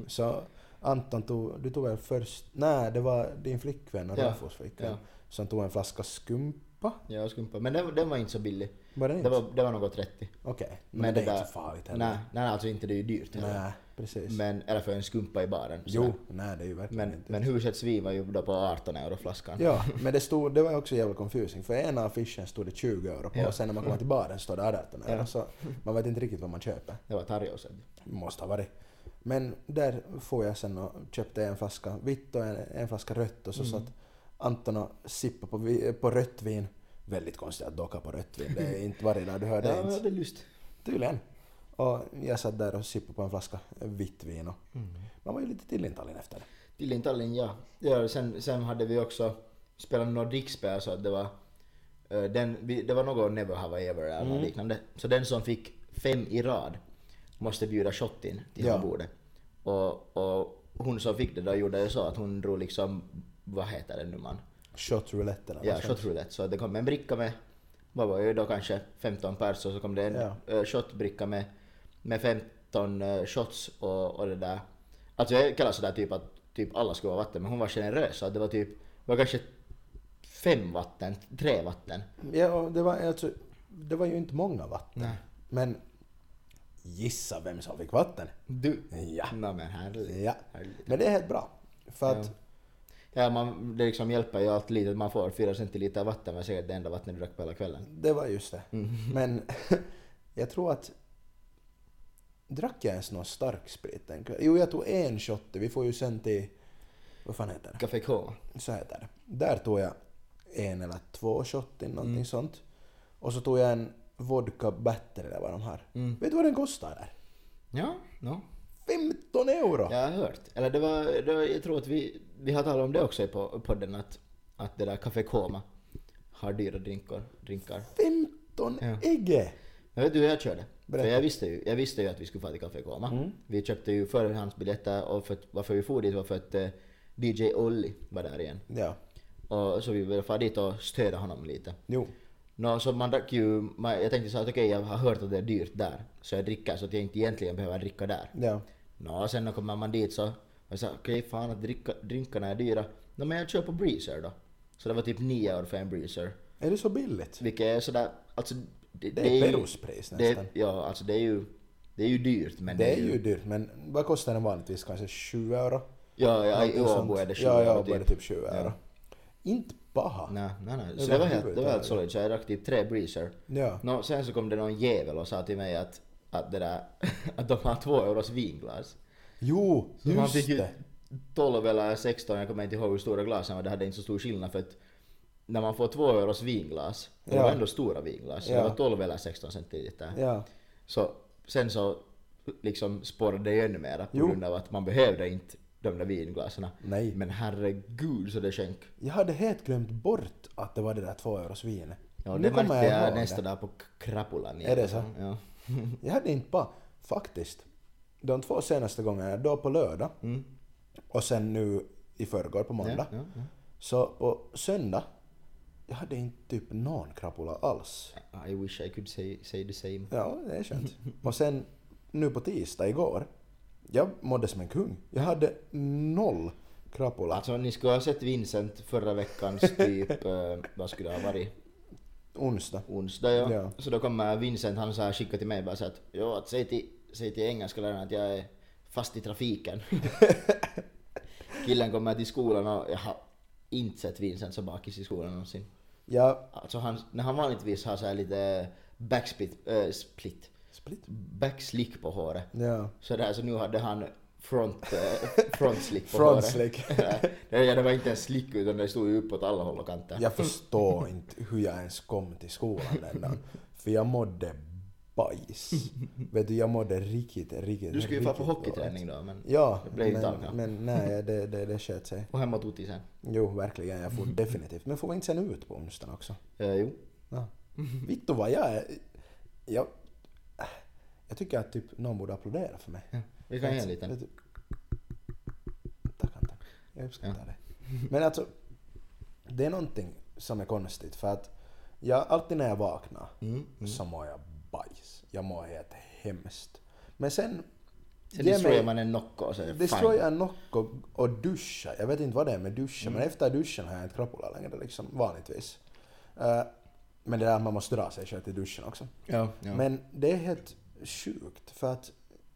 Så Anton tog, du tog väl först, nej det var din flickvän och Ja, Rafos flickvän ja. som tog en flaska skumpa. Ja, skumpa. Men den, den var inte så billig. Var det Det inte? var, det var något 30. Okej, men, men det det är inte där- så farligt Nej, heller. nej, nej, alltså inte det är ju dyrt heller. Nej, precis. Men, eller för en skumpa i baren. så jo, där. nej det är ju verkligen Men, inte. men huset Svi var ju då på 18 euro flaskan. Ja, men det, stod, det var ju också jävla confusing för ena affischen stod det 20 euro på Ja. och sen när man kommer till baren står det 18 euro Ja. så man vet inte riktigt vad man köper. Det var Tarjouset. Måste ha varit. Men där får jag sen och köpte en flaska vitt och en, en flaska rött och så Mm. satt Anton och sippa på, vi- på rött vin. Väldigt konstigt att docka på rött vin, det är inte varje dag du hör Ja, det jag ens. hade lust. Tydligen. Och jag satt där och sippade på en flaska vitt vin och Mm. man var ju lite tillintallig efter det. Tillin Tallinn, ja. ja sen, sen hade vi också spelat Nordic-spel så att det var... eh, Den, vi, det var något Never Have I Ever eller något liknande. Så den som fick fem i rad måste bjuda shot in till Ja. ja. bordet. Och, och hon som fick det då gjorde ju så att hon drog liksom, vad heter det nu man? Shot roulette eller Ja, vad shot roulette. Så det kom en bricka med, vad var det då kanske 15 pers och så kom det en Ja. eh, shotbricka med, med 15 eh, shots och, och det där. Alltså jag kallar sådär typ att typ alla skulle ha vatten men hon var generös så att det var typ, var kanske fem vatten, tre vatten. Ja, och det var, alltså, det var ju inte många vatten. Men gissa vem som fick vatten? Du! Ja. Nå men Mm. härligt. Ja. Men det är helt bra. För att Ja, man, det liksom hjälper ju allt litet man får. Fyra centiliter vatten var säkert det enda vattnet du drack på hela kvällen. Det var just det. Mm. Men jag tror att... Drack jag ens någon stark sprit den kvällen? Jo, jag tog en shot. Vi får ju sen till... Vad fan heter Café K. det? Så heter det. Där tog jag en eller två shot in, någonting Mm. sånt. Och så tog jag en vodka battery eller vad de har. Mm. Vet du vad den kostar där? Ja, nå. 15 euro! Jag har hört. Eller det var, det var, jag tror att vi, vi har talat om det också i po- podden att, att det där Café Koma har dyra drinkar. drinkar. 15 egge! Men vet du hur jag körde? Berätta. För jag visste, ju, jag visste ju att vi skulle få till Café Koma. Vi köpte ju förhandsbiljetter och för, att- varför vi for dit var för att eh, DJ Olli var där igen. Ja. Och, så vi ville fara dit och stödja honom lite. Jo. Nå, så man drack ju, man, jag tänkte så att okej jag har hört att det är dyrt där. Så jag dricker så att jag inte egentligen behöver dricka där. Ja. Nå, sen när kommer man dit så jag sa okej fan att dricka, drinkarna är dyra. Nå men jag köper breezer då. Så det var typ 9 euro för en breezer. Är det så billigt? Vilket är sådär, alltså Det det, det är ju- Peruspris nästan. det, Ja, alltså det är ju, det är ju dyrt men Det är ju dyrt, men vad kostar den vanligtvis? Kanske 7 euro? Ja, ja i Någonting Åbo sånt. är det 20 Ja, i euro Åbo är det typ 20 euro. Inte paha. Nej, nej, nej. Det Så det var var helt, det huvudet, var helt ja. solid. Så jag drack typ tre breezer. Ja. Nå, sen så kom det någon jävel och sa till mig att, att det där, att de har två euros vinglas. Jo, Så man just fick ju det. 12 eller 16, jag kommer inte ihåg hur stora glasen var, det hade inte så stor skillnad för att när man får två euros vinglas, och det Ja. var ändå stora vinglas, så Ja. det var 12 eller 16 centiliter. Ja. Så sen så liksom spårade det ännu mera på Jo. grund av att man behövde inte de där vinglasen. Nej. Men herregud så det sjönk. Jag hade helt glömt bort att det var det där 2 euros vinet. Ja, nu det kommer märkte jag jag ihåg nästa det. dag på k- krapulan. Är det så? Ja. Jag hade inte bara... Faktiskt. De två senaste gångerna, då på lördag och sen nu i förrgår på måndag. Mm. Ja, ja. Så på söndag, jag hade inte typ någon krapula alls. I wish I could say, say the same. Ja, det är skönt. Och sen nu på tisdag igår, jag mådde som en kung. Jag hade noll krapula. Alltså ni skulle ha sett Vincent förra veckans typ, eh, vad skulle det ha varit? Onsdag. Onsdag ja. Ja. Så då kommer Vincent, han så här skickade till mig bara så att, ja att säg till, säg till engelska läraren att jag är fast i trafiken. Killen kommer till skolan och jag har inte sett Vincent så bakis i skolan någonsin. Jag... Alltså han, när han vanligtvis har så här lite backsplit, eh, split, Split? backslick på håret. Ja. Så där, så nu hade han front, eh, frontslick på Frontslick. håret. Nej, det var inte en slick utan det stod ju uppåt alla håll och kanter. Jag förstår inte hur jag ens kom till skolan den dagen. För jag mådde bajs. Vet du, jag mådde riktigt, riktigt, Du skulle ju vara på riktigt hockeyträning då men... dåligt. Ja, Det blev inte av, ja. men, men nej, det, det, det sköt sig. Och hemma tog till sen. Jo, verkligen. Jag får definitivt. Men får vi inte sen ut på onsdagen också? Eh, jo. Ja. Vittu vad jag är... Jag, jag tycker att typ någon borde applådera för mig. Vi kan ge en liten. Vet du- Tack Anton. Jag uppskattar det. Men alltså, det är någonting som är konstigt för att jag, alltid när jag vaknar Mm. så mår jag bajs. Jag mår helt hemskt. Men sen... Sen ge destroyar mig- man en Nocco och så är det Destroy fine. en nock och, och duscha. Jag vet inte vad det är med duscha, Mm. men efter duschen har jag inte krapula längre liksom, vanligtvis. Eh, men det där att man måste dra sig själv till duschen också. Ja, ja. Men det är helt sjukt för att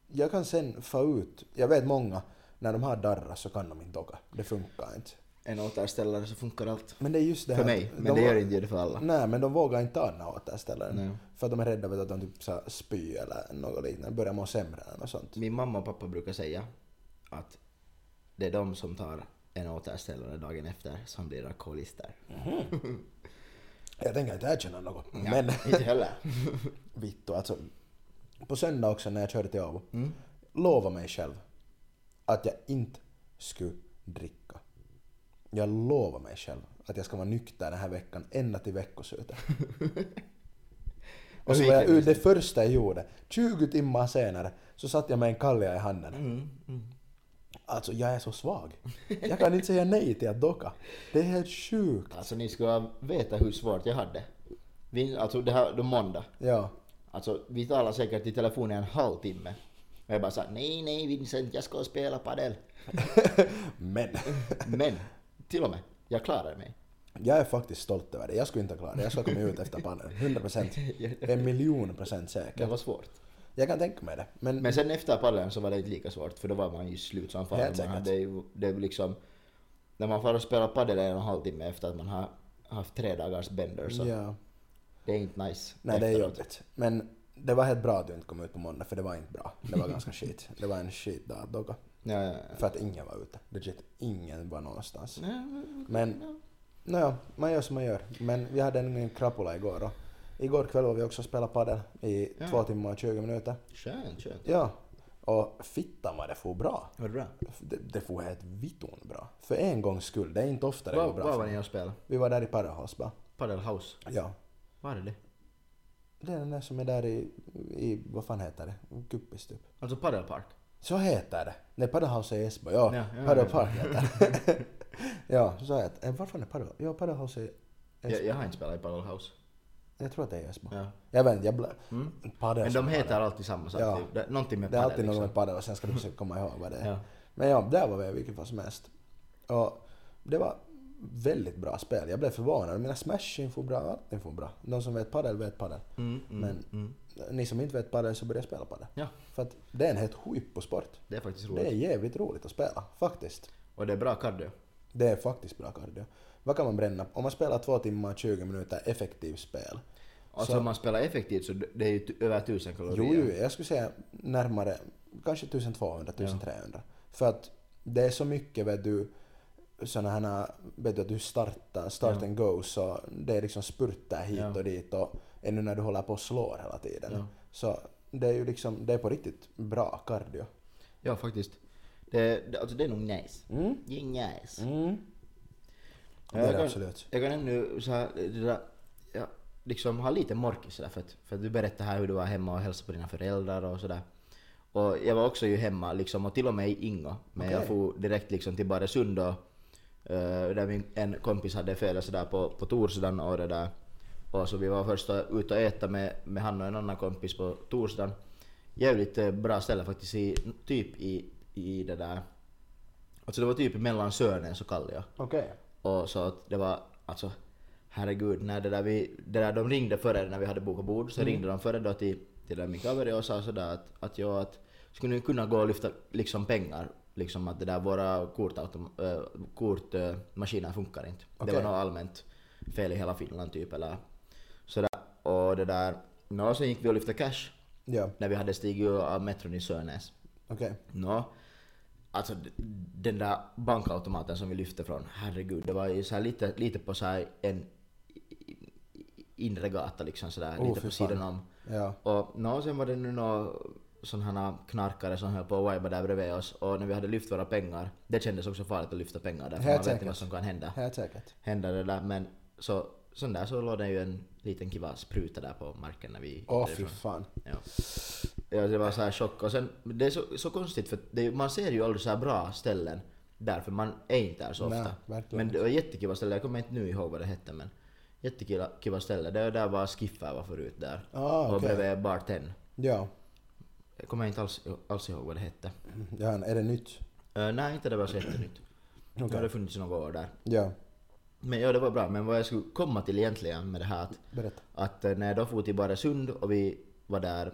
jag kan sen få ut, jag vet många, när de har darrar så kan de inte åka. Det funkar inte. En återställare så funkar allt. Men det är just det För här att mig. de Men det gör vå- inte det för alla. Nej, men de vågar inte ta den här Nej. återställaren. För att de är rädda för att de typ så här spyr eller något liknande, börjar må sämre eller något sånt. Min mamma och pappa brukar säga att det är de som tar en återställare dagen efter som blir alkoholister. Jag tänker inte erkänna något, Ja, men... Inte heller. Vittu, alltså. På söndag också när jag körde till Åbo. Mm. Lova mig själv att jag inte skulle dricka. Jag lovar mig själv att jag ska vara nykter den här veckan ända till veckoslutet. Och så hur var jag gick det ut det första jag gjorde. 20 timmar senare så satt jag med en kalja i handen. Mm, Alltså jag är så svag. Jag kan inte säga nej till att docka. Det är helt sjukt. Alltså ni ska veta hur svårt jag hade. Vi, alltså det här, det var måndag. Ja. Alltså vi talade säkert i telefon i en halvtimme. Och jag bara sa nej, nej Vincent, jag ska spela padel. Men. Men till och med, jag klarade mig. Jag är faktiskt stolt över det. Jag skulle inte klara det. Jag skulle komma ut efter pannan. 100 procent. En miljon procent Det säker. var svårt. Jag kan tänka mig det. Men, Men sen efter paddeln så var det inte lika svårt för då var man ju slut som fan. Helt Man säkert. hade ju, det är ju liksom, när man får spela padel en och en halv timme efter att man har haft tre dagars bender så ja. det är inte nice. Nej, det är efteråt. jobbigt. Men det var helt bra att du inte kom ut på måndag, för det var inte bra. Det var ganska skit. Det var en skitdag att åka. Ja, ja, ja. För att ingen var ute. Legit, ingen var någonstans. Nej, men- Men, nåja, man gör som man gör. Men vi hade en krapula igår och igår kväll var vi också och spelade padel i Ja. två timmar och 20 minuter. Skönt, skönt. Ja. Och fittan vad det for bra. Var det bra? Det, det får helt vitton bra. För en gångs skull, det är inte ofta det Var, går bra. var för var ni mig. och spelade? Vi var där i Paraholsba. Padel House? Ja. Var är det? Det är den där som är där i, i vad fan heter det? Kuppis typ. Alltså padelpark? Så heter det. Nej, Paddlehouse är Esbo. Ja, Ja, ja, ja, Paddle ja. Park heter det. ja, så heter det. Eh, Varför är Paddle? Ja, Paddlehouse är Esbo. Jag, jag har inte spelat i Padel House. Jag tror att det är Esbo. Ja. Jag vet inte, jag blir... Mm. Men de heter alltid samma sak. Ja. typ. Det- Någonting med Det är padel alltid något liksom. med padel och sen ska du försöka komma ihåg vad det är. Ja. Men ja, där var vi i vilket fall som helst. Och det var väldigt bra spel. Jag blev förvånad. Mina smash får bra, allting får bra. De som vet padel vet padel. Mm, mm, Men- mm. Ni som inte vet padel så börja spela padel. Ja, För att det är en helt skitposport. det är faktiskt roligt. Det är jävligt roligt att spela, faktiskt. Och det är bra cardio. Det är faktiskt bra cardio. Vad kan man bränna? Om man spelar två timmar och 20 minuter effektivt spel. Alltså Så- om man spelar effektivt så det är ju t- över 1000 kalorier. Jo, jo, jag skulle säga närmare kanske 1200-1300. För att det är så mycket vet du, sådana här, vet du att du startar, start and go, så det är liksom spurtar hit Ja. och dit och ännu när du håller på och slår hela tiden. Ja. Så det är ju liksom, det är på riktigt bra cardio. Ja, faktiskt. Det, det, alltså det är nog nice. Mm. Det är nice. Det är Mm. jag, det kan, absolut. jag kan ännu så här, det där, ja, liksom ha lite morkis sådär för att, för att du berättade här hur du var hemma och hälsade på dina föräldrar och sådär. Och jag var också ju hemma liksom och till och med i Ingo. Men jag Okej. for direkt liksom till Baresund och eh, där min, en kompis hade födelsedag på, på torsdagen och det där. Och så vi var först ute och äta med, med han och en annan kompis på torsdagen. Jävligt eh, bra ställe faktiskt i, typ i, i det där. Alltså det var typ mellan Sörnen så kallar jag. Okej. Och så att det var alltså herregud, när det där vi, det där de ringde före när vi hade bokat bord så ringde de före då till, till där min kaveri och sa sådär att, att jag att skulle ni kunna gå och lyfta liksom pengar? Liksom att det där våra kortmaskiner äh, kort, eh, maskiner funkar inte. Det Okej. var något allmänt fel i hela Finland typ eller sådär. Och det där, nå sen gick vi och lyfte cash Ja, när vi hade stigit av metron i Sörnäs. okej. Nå, alltså d- den där bankautomaten som vi lyfte från, herregud, det var ju så här lite, lite på så här en i- i- inre gata liksom sådär, Oh, lite fy på fan. sidan om. Ja. Och nå, sen var det nu några sådana knarkare som höll på och vibade där bredvid oss och när vi hade lyft våra pengar, det kändes också farligt att lyfta pengar där för Helt man vet inte säkert. vad som kan hända. Helt säkert. Hända det där men så, sån där så låg det ju en liten kiva spruta där på marken när vi gick Åh fy därifrån. fan. Ja. ja, det var så här chock. Och sen, det är så, så konstigt för det, är- man ser ju aldrig så här bra ställen där för man är inte där så Nej, ofta. verkligen men det var jättekiva ställen, jag kommer inte nu ihåg vad det hette men jättekiva kiva ställe. Det var där var Skiffa var förut där. Ah, Och okej. bredvid Bar 10. Ja. Jag kommer inte alls, alls ihåg vad det hette. ja. Är det nytt? Eh, nej, inte det var så jättenytt. Okej. Det hade funnits i några år där. Ja. Men ja, det var bra. Men vad jag skulle komma till egentligen med det här att Berätta. att eh, när jag då for till Baresund och vi var där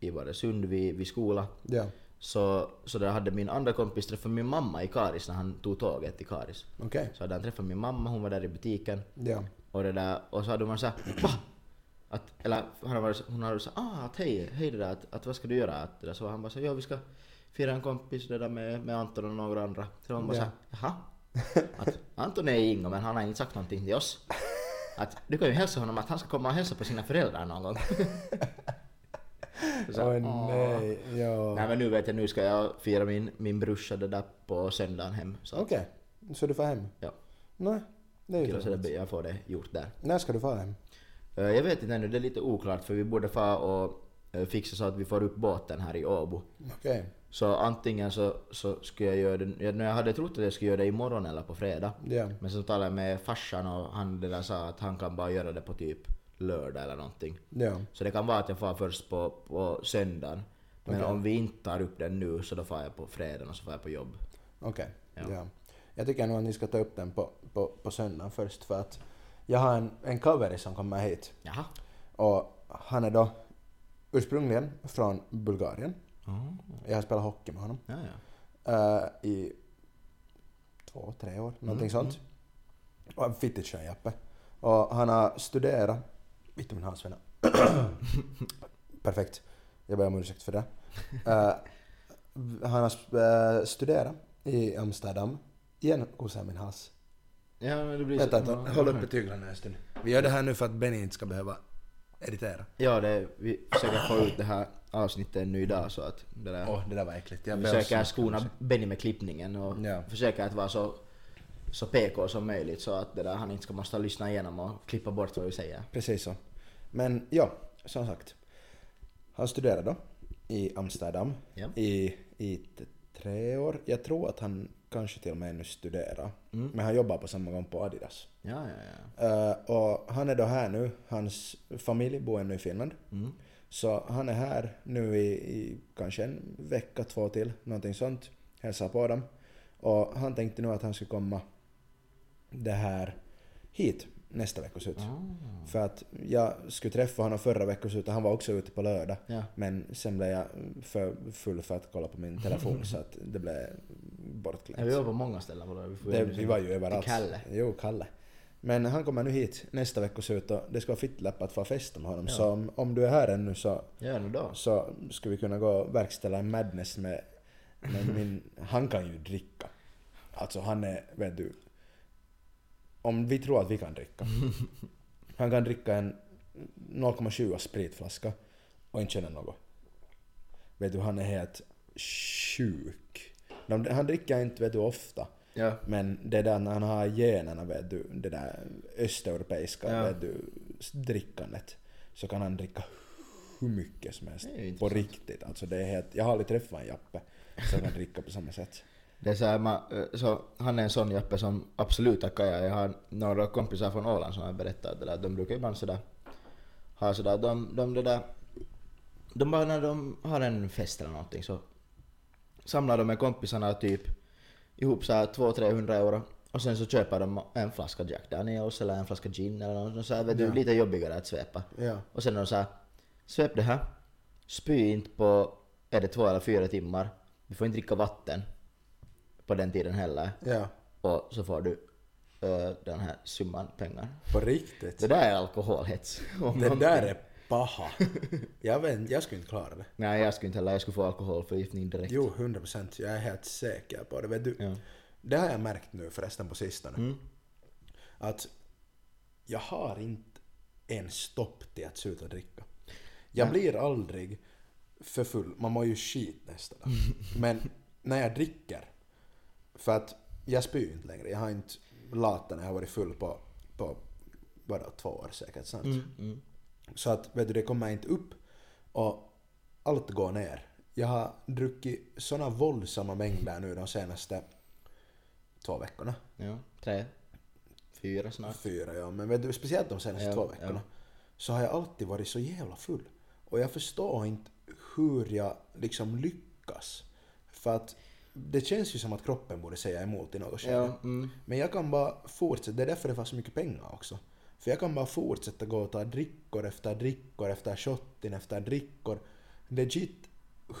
i Baresund vid, vid skola Ja. så, så där hade min andra kompis träffat min mamma i Karis när han tog tåget till Karis. Okej. Så hade han träffat min mamma, hon var där i butiken Ja. och det där och så hade man såhär Va? Att, eller han var, hon hade sagt ah att hej, hej det där, att, att vad ska du göra? Att det där, så han bara så ja vi ska fira en kompis det där med, med Anton och några andra. Så hon bara Ja. såhär jaha? Att Anton är i Ingo men han har inte sagt någonting till oss. Att du kan ju hälsa honom att han ska komma och hälsa på sina föräldrar någon gång. Typ Så, Åh "Åh." nej. Ja. Nej men nu vet jag, nu ska jag fira min, min brorsa det där på söndagen hem. Så att, Okej. Så du får hem? ja, Nej. Det är ju kul så det trevligt. blir, jag får det gjort där. När ska du få hem? Eh, Jag vet inte ännu, det är lite oklart för vi borde få och eh, fixa så att vi får upp båten här i Åbo. Okej. Så antingen så, så skulle jag göra det, jag, jag hade trott att jag skulle göra det imorgon eller på fredag. Ja. Men så talade jag med farsan och han det där sa att han kan bara göra det på typ lördag eller någonting. Ja. Så det kan vara att jag far först på, på söndagen. Men Okej. om vi inte tar upp den nu så då far jag på fredagen och så far jag på jobb. Okej. Ja. Ja. Jag tycker nog att ni ska ta upp den på, på, på söndagen först för att jag har en, en cover som kommer hit Jaha. och han är då ursprungligen från Bulgarien. Oh. Jag har spelat hockey med honom Ja, ja. eh, i två, tre Mm, år, någonting sånt. Och en fittig tjejjappe. Och han har studerat, vitt om min halsvänna. Perfekt, jag ber om ursäkt för det. Eh, han har eh, studerat i Amsterdam. Igen kosar min hals. Ja, men det blir Vänta, så... ta, håll uppe tyglarna en stund. Vi gör det här nu för att Benny inte ska behöva editera. Ja, det, vi försöker få ut det här avsnittet nu idag så att det där... Åh, det där var äckligt. Jag vi ber om försöker ursäkt. skona Benny med klippningen och Ja. försöker att vara så, så PK som möjligt så att det där, han inte ska måste lyssna igenom och klippa bort vad vi säger. Precis så. Men ja, som sagt. Han studerade då i Amsterdam Ja. i, i t- tre år. Jag tror att han kanske till och med ännu studerar. Men han jobbar på samma gång på Adidas. Ja, ja, ja. Eh, och han är då här nu. Hans familj bor ännu i Finland. Så han är här nu i, i kanske en vecka, två till, någonting sånt. Hälsar på dem. Och han tänkte nu att han skulle komma det här hit nästa veckoslut. Ah. För att jag skulle träffa honom förra veckoslutet, han var också ute på lördag. Ja. Men sen blev jag för full för att kolla på min telefon så att det blev Ja, vi bortglömt. var på många ställen. Var det? Vi, får Det, ändå vi säga- var ju överallt. Till Kalle. Jo, Kalle. Men han kommer nu hit nästa veckoslut och det ska vara fittläppat för festa med honom. Ja. Så om, om du är här ännu så, Ja, nu då. så skulle vi kunna gå och verkställa en madness med, med min... Han kan ju dricka. Alltså han är, vet du... Om vi tror att vi kan dricka. Han kan dricka en 0,7 spritflaska och inte känna något. Vet du, han är helt sjuk. De- Han dricker inte, vet du, ofta. Ja. Men det där när han har generna, vet du, det där östeuropeiska Ja. vet du, s- drickandet. Så kan han dricka hur mycket som helst. Det är ju På intressant. riktigt. Alltså det är helt, jag har aldrig träffat en jappe som kan dricka på samma sätt. Det är så här, man, eh, så han är en sån jappe som absolut tackar jag. Jag har några kompisar från Åland som har berättat det där. De brukar ibland sådär ha sådär, de, de det där, de bara när de har en fest eller någonting så samlar de med kompisarna typ ihop såhär 200-300 euro och sen så köper de en flaska Jack Daniels eller en flaska gin eller något sånt vet du, lite jobbigare att svepa. Ja. Och sen är de såhär, svep det här, spy inte på, är det två eller fyra timmar, du får inte dricka vatten på den tiden heller. Ja. Och så får du eh, den här summan pengar. På riktigt. Det där är alkoholhets. Om Det någon- där är paha. Jag, vet, jag skulle inte klara det. Nej jag skulle inte heller, jag skulle få alkoholförgiftning direkt. Jo, 100 procent. Jag är helt säker på det. Vet du, Ja. Det har jag märkt nu förresten på sistone. Att jag har inte en stopp till att sluta dricka. Jag blir aldrig för full. Man mår ju skit nästa dag. Men när jag dricker, för att jag spyr inte längre. Jag har inte latat när jag har varit full på, på bara två år säkert. Sant? Mm. Så att vet du, det kommer inte upp och allt går ner. Jag har druckit såna våldsamma mängder nu de senaste två veckorna. Ja, tre, fyra snart. Fyra ja, men vet du, speciellt de senaste Ja, två ja. veckorna. Så har jag alltid varit så jävla full. Och jag förstår inte hur jag liksom lyckas. För att det känns ju som att kroppen borde säga emot i något skede. Ja, mm. Men jag kan bara fortsätta, det är därför det fanns så mycket pengar också. För jag kan bara fortsätta gå och ta drickor efter drickor efter shotin efter drickor. Legit,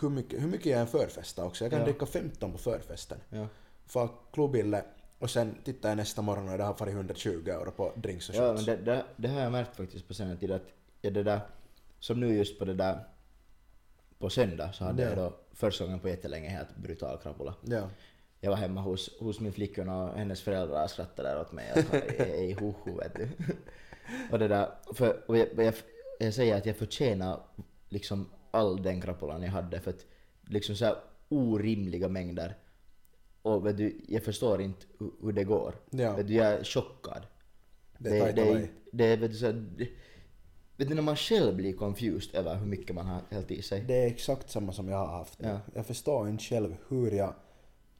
hur mycket, hur mycket jag än förfestar också. Jag kan Ja. dricka 15 på förfesten. Ja. Far klubbille och sen tittar jag nästa morgon och det har varit 120 euro på drinks och Ja, shots. men det, det, det har jag märkt faktiskt på senare tid att ja, det där, som nu just på det där på söndag så hade Ja. jag då första gången på jättelänge helt brutal krabula. Ja. Jag var hemma hos, hos min flickvän och hennes föräldrar skrattade där åt mig. Jag sa, Ej hoho vet du. Och det där, för, och jag, jag, jag säger att jag förtjänar liksom all den krapulan jag hade för att liksom så här orimliga mängder. Och vet du, jag förstår inte hu- hur det går. Ja. Vet du, jag är chockad. Det det, tar det, är inte inte- det är vet du, så här, det, vet du när man själv blir confused över hur mycket man har hällt i sig. Det är exakt samma som jag har haft. nu. Ja. Jag förstår inte själv hur jag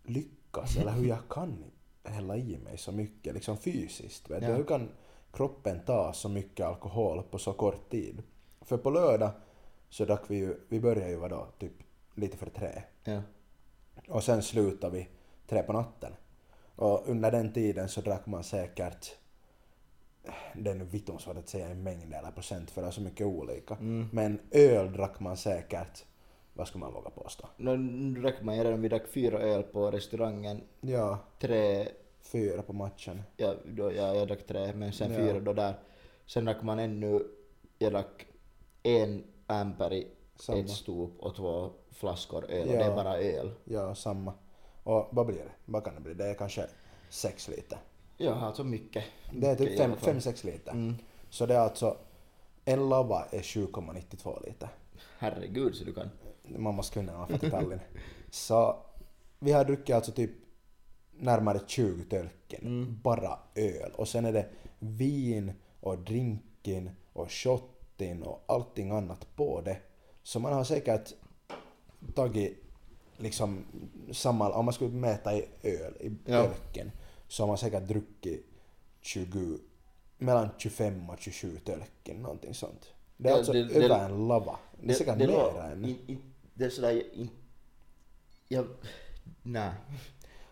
lyckas eller hur jag kan hälla i mig så mycket liksom fysiskt. Vet du? Ja. Hur kan kroppen ta så mycket alkohol på så kort tid? För på lördag så drack vi ju, vi började ju vadå, typ lite för tre. Ja. Och sen slutade vi tre på natten. Och under den tiden så drack man säkert det är nu vitton svårt att säga i mängd eller procent för det är så mycket olika. Mm. Men öl drack man säkert, vad skulle man våga påstå? Nu nu drack man ju redan, vi drack fyra öl på restaurangen Ja, tre, fyra på matchen. ja, då, ja, jag drack tre men sen Ja. fyra då där. Sen drack man ännu, jag drack en amper i Samma. ett stop och två flaskor öl och Ja. det är bara öl. Ja, samma. Och vad blir det? Vad kan det bli? Det är kanske sex liter. Jag har så mycket. Det är mycket typ i alla fem, fall. Mm. fem sex liter. Så det är alltså, en lava är 7,92 liter. Herregud så du kan. mammas kunde när man fattade Tallinn. Så vi har druckit alltså typ närmare 20 tölken, Mm. bara öl. Och sen är det vin och drinken och shotten och allting annat på det. Så man har säkert tagit liksom samma, om man skulle mäta i öl, i Ja. tölken, så har man säkert druckit 20, mellan 25 och 27 tölken, någonting sånt. Det är Ja, alltså det- det- över en lava. Det är säkert lå- mer än... in, in, det är sådär, in, jag, nej.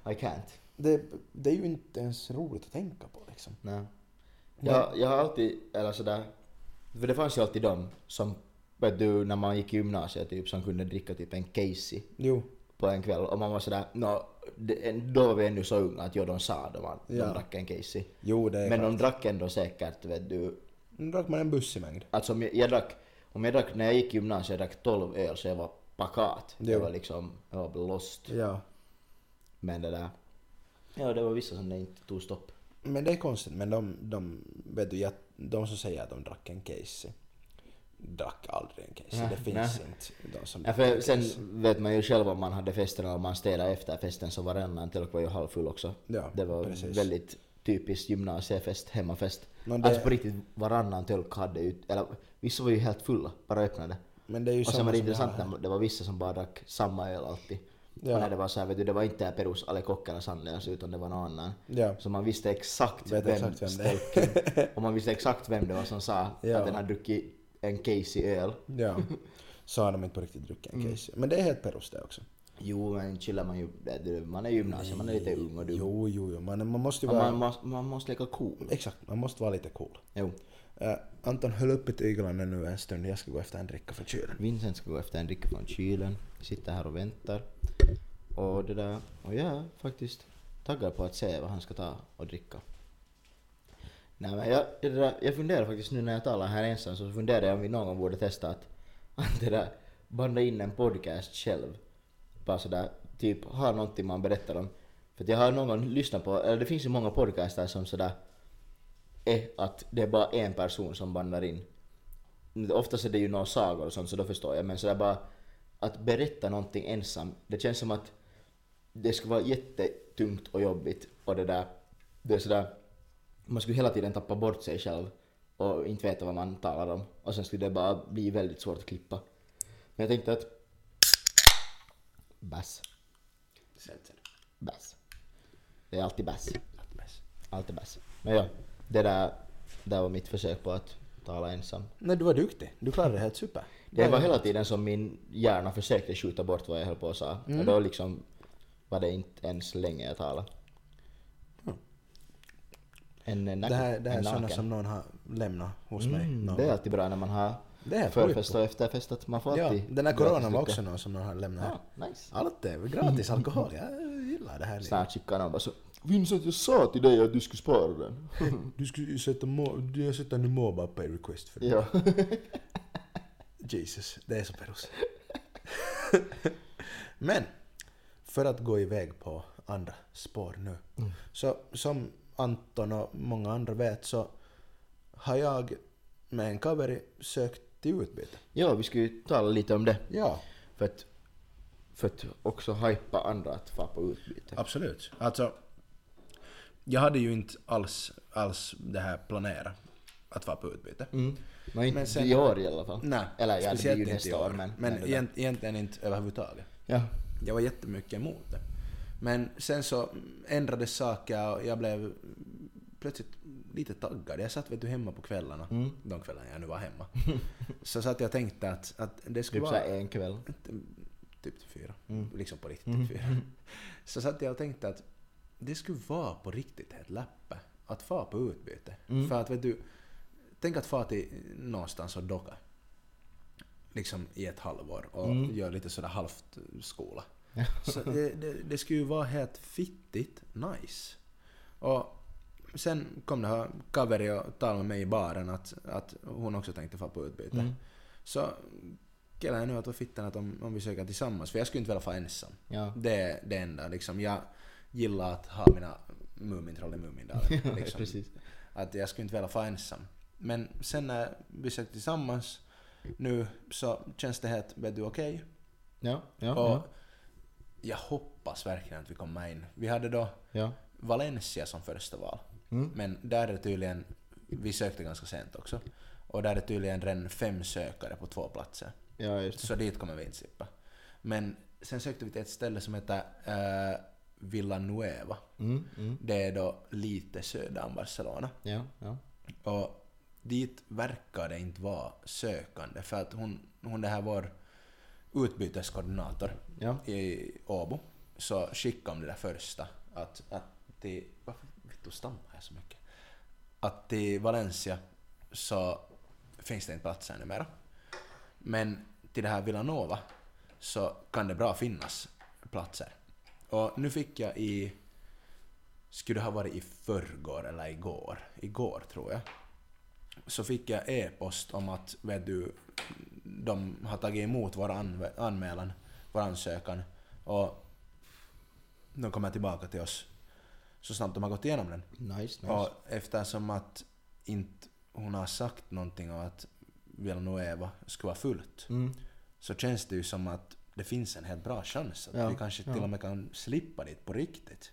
I can't. det, det är ju inte ens roligt att tänka på liksom. Nej. Jag, jag har alltid, eller sådär, för det fanns ju alltid de som, vet du, när man gick i gymnasiet typ, som kunde dricka typ en Casey Jo. på en kväll och man var sådär, nå, det, då var vi ännu så unga att ja, de sa det, man, Ja. de drack en Casey. Jo, det är Men Men de drack ändå säkert, vet du, Nu drack man en buss i mängd. alltså om jag, jag drack, om jag drack, när jag gick i gymnasiet, jag drack 12 öl så jag var pakat. Jo. Jag var liksom, jag var blåst. Ja. Men det där, ja det var vissa som det inte tog stopp. Men det är konstigt, men de, de, vet du, jag, de som säger att de drack en Casey drack aldrig en Casey. Nej, det finns inte de som Ja, drack för en sen Casey. vet man ju själv om man hade festen eller om man städade efter festen så var en tölk var ju halvfull också. Ja, det var precis. väldigt typiskt gymnasiefest, hemmafest. Nå, det- Alltså på riktigt, varannan tölk hade ju, eller vissa var ju helt fulla, bara öppnade. Men det är ju Och sen samma var det som vi har intressant här. när det var vissa som bara drack samma öl alltid. Ja. Och när det var såhär, vet du, det var inte Perus Alekokk eller Sandels utan det var någon annan. Ja. Så man visste exakt Vet vem, exakt vem det är. stälken- och man visste exakt vem det var som sa Ja. att den hade druckit en Casey-öl. Ja. Så har de inte på riktigt druckit Mm. en Casey. Men det är helt perus det också. Jo, men chillar man ju. det- det- Man är i gymnasiet, man är lite ung och dum. Jo, jo, jo. Man, man måste ju Man, vara... man, måste- man måste leka cool. Exakt, man måste vara lite cool. Jo. Eh, Anton, höll uppe tyglarna nu en stund. Jag ska gå efter en dricka för kylen. Vincent ska gå efter en dricka från kylen. Sitter här och väntar. Och det där. Och jag är faktiskt taggad på att se vad han ska ta och dricka. Nej men jag, det där, jag funderar faktiskt nu när jag talar här ensam så funderar jag om vi någon gång borde testa att, att det där, banda in en podcast själv. Bara sådär, typ ha någonting man berättar om. För att jag har någon gång lyssnat på, eller det finns ju många podcaster som sådär är att det är bara en person som bandar in. Oftast är det ju några sagor och sånt så då förstår jag men sådär bara att berätta någonting ensam, det känns som att det skulle vara jättetungt och jobbigt och det där, det är sådär, man skulle hela tiden tappa bort sig själv och inte veta vad man talar om och sen skulle det bara bli väldigt svårt att klippa. Men jag tänkte att... Bass. Bass. Det är alltid bass. Alltid bass. Men ja, det där, där var mitt försök på att tala ensam. Nej, du var duktig. Du klarade det helt super. Det var hela tiden som min hjärna försökte skjuta bort vad jag höll på att säga. Mm. Och då liksom var det inte ens länge jag talade. En, en, Det här, det här är en sådana naken. som någon har lämnat hos mig. Mm, någon det är gång. alltid bra när man har Det är förfest och efterfest att man får ja, alltid den här coronan gratis var dricka. också någon som någon har lämnat. Ja, nice. Allt är gratis alkohol. Jag gillar det här. Snart skickar någon bara så Vincent jag sa till dig att du skulle spara den. Du skulle ju sätta, må- du har sätta en mobile pay request för ja. Jesus, det är så perus. Men, för att gå iväg på andra spår nu. Mm. Så som Anton och många andra vet så har jag med en kaveri sökt till utbyte. ja, vi ska ju tala lite om det. Ja, För att, för att också hypa andra att vara på utbyte. absolut. Alltså, jag hade ju inte alls, alls det här planerat att vara på utbyte. Mm. Men inte Men sen- i år i alla fall. Nej, Eller ja, det blir speciellt ju inte i nästa år. år. Men, Men, det där. egent, egentligen inte överhuvudtaget. ja. Jag var jättemycket emot det. Men sen så ändrades saker och jag blev plötsligt lite taggad. Jag satt vet du, hemma på kvällarna, de kvällarna jag nu var hemma. så satt jag och tänkte att, att det skulle Typ vara... såhär en kväll. Typ till fyra. Liksom på riktigt till fyra. Så satt jag och tänkte att det skulle vara på riktigt ett läppe att fara på utbyte. För att vet du, tänk att fara till någonstans och docka. Liksom i ett halvår och göra lite sådär halvt skola. Så det, det, det skulle ju vara helt fittigt nice. Och sen kom det här Kaveri och talade med mig i baren att, att hon också tänkte fara på utbyte. Mm. Så killarna nu att vad fittan att om, om vi söker tillsammans, för jag skulle inte vilja fara ensam. Ja. Det är det enda liksom. Jag gillar att ha mina Mumintroll i Mumindalen. Ja, liksom. precis. Att jag skulle inte vilja fara ensam. Men sen när vi sökte tillsammans nu så känns det helt, vet du okej? Ja, ja, och ja. jag hoppas verkligen att vi kommer in. Vi hade då ja. Valencia som första val. Mm. Men där är det tydligen, vi sökte ganska sent också, och där är det tydligen redan fem sökare på två platser. Ja, just det. Så dit kommer vi inte slippa. Men sen sökte vi till ett ställe som heter uh, Villanueva. Mm, mm. Det är då lite söder om Barcelona. Ja, ja. Och dit verkar det inte vara sökande för att hon, hon det här var utbyteskoordinator Ja. i Åbo så skickade hon det där första att, att till, varför vittu stammar jag så mycket? Att till Valencia så finns det inte platser numera. Men till det här Villanova så kan det bra finnas platser. Och nu fick jag i, skulle det ha varit i förrgår eller igår, igår tror jag, så fick jag e-post om att vet du, de har tagit emot vår anv- anmälan, vår ansökan och de kommer tillbaka till oss så snabbt de har gått igenom den. Nice, nice. Och eftersom att inte hon har sagt någonting om att Villanueva skulle vara fullt Mm. så känns det ju som att det finns en helt bra chans att Ja, vi kanske till ja. och med kan slippa dit på riktigt.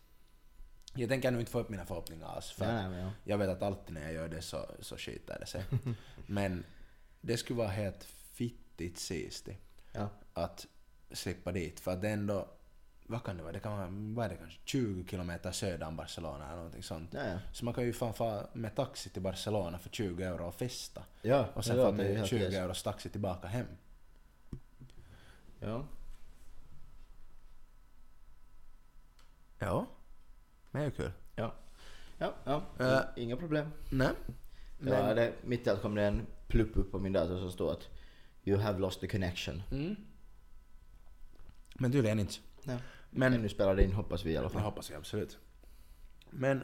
Jag tänker nu inte få upp mina förhoppningar alls för Nej, nej, men ja. jag vet att alltid när jag gör det så, så skiter det sig. Men det skulle vara helt fittigt sist ja. att slippa dit för att det är ändå, vad kan det vara, det kan vara, vad är det kanske, 20 kilometer söder om Barcelona eller någonting sånt. Ja, ja. Så man kan ju fan fara med taxi till Barcelona för 20 euro och festa. Ja, Och sen ja, får det är ju man helt 20 rätt. euros taxi tillbaka hem. Ja. Ja. Men det är ju kul. Ja. Ja, ja. Äh. Inga problem. Nej. Eh, Men... Ja, det, mitt i allt kom det en plupp upp på min dator som står att You have lost the connection. Mm. Men tydligen inte. Ja. Men- Men nu spelar det in hoppas vi i alla Det fall. hoppas jag absolut. Men,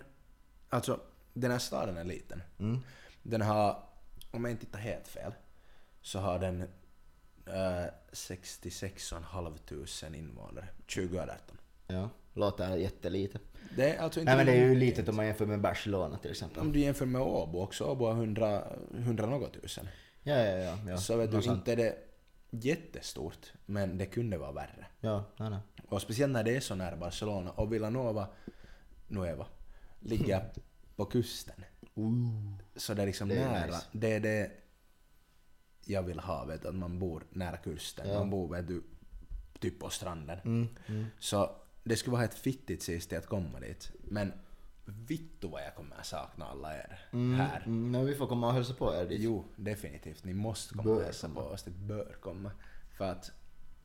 alltså, den här staden är liten. Mm. Den har, om jag inte tittar helt fel, så har den eh, 66 500 invånare 2018. Ja. Låter jättelite. Det är alltså inte Nej men det är ju mycket. litet om man jämför med Barcelona till exempel. Om du jämför med Åbo också, Åbo har 100, 100 något tusen. Ja, ja, ja. ja. så vet du, Något sånt. inte är det jättestort, men det kunde vara värre. Ja, nej, nej. Och speciellt när det är så nära Barcelona och Villanova Nueva ligger på kusten. Så det är liksom Det är nära. nice. Det är det jag vill ha, vet du, att man bor nära kusten. Ja. Man bor vet du, typ på stranden. Mm, mm. Så det skulle vara ett fittigt sist att komma dit. Men vittu vad jag kommer sakna alla er Mm, här. Mm, men vi får komma och hälsa på er dit. Jo, definitivt. Ni måste komma Bör och hälsa på oss. Det bör komma. För att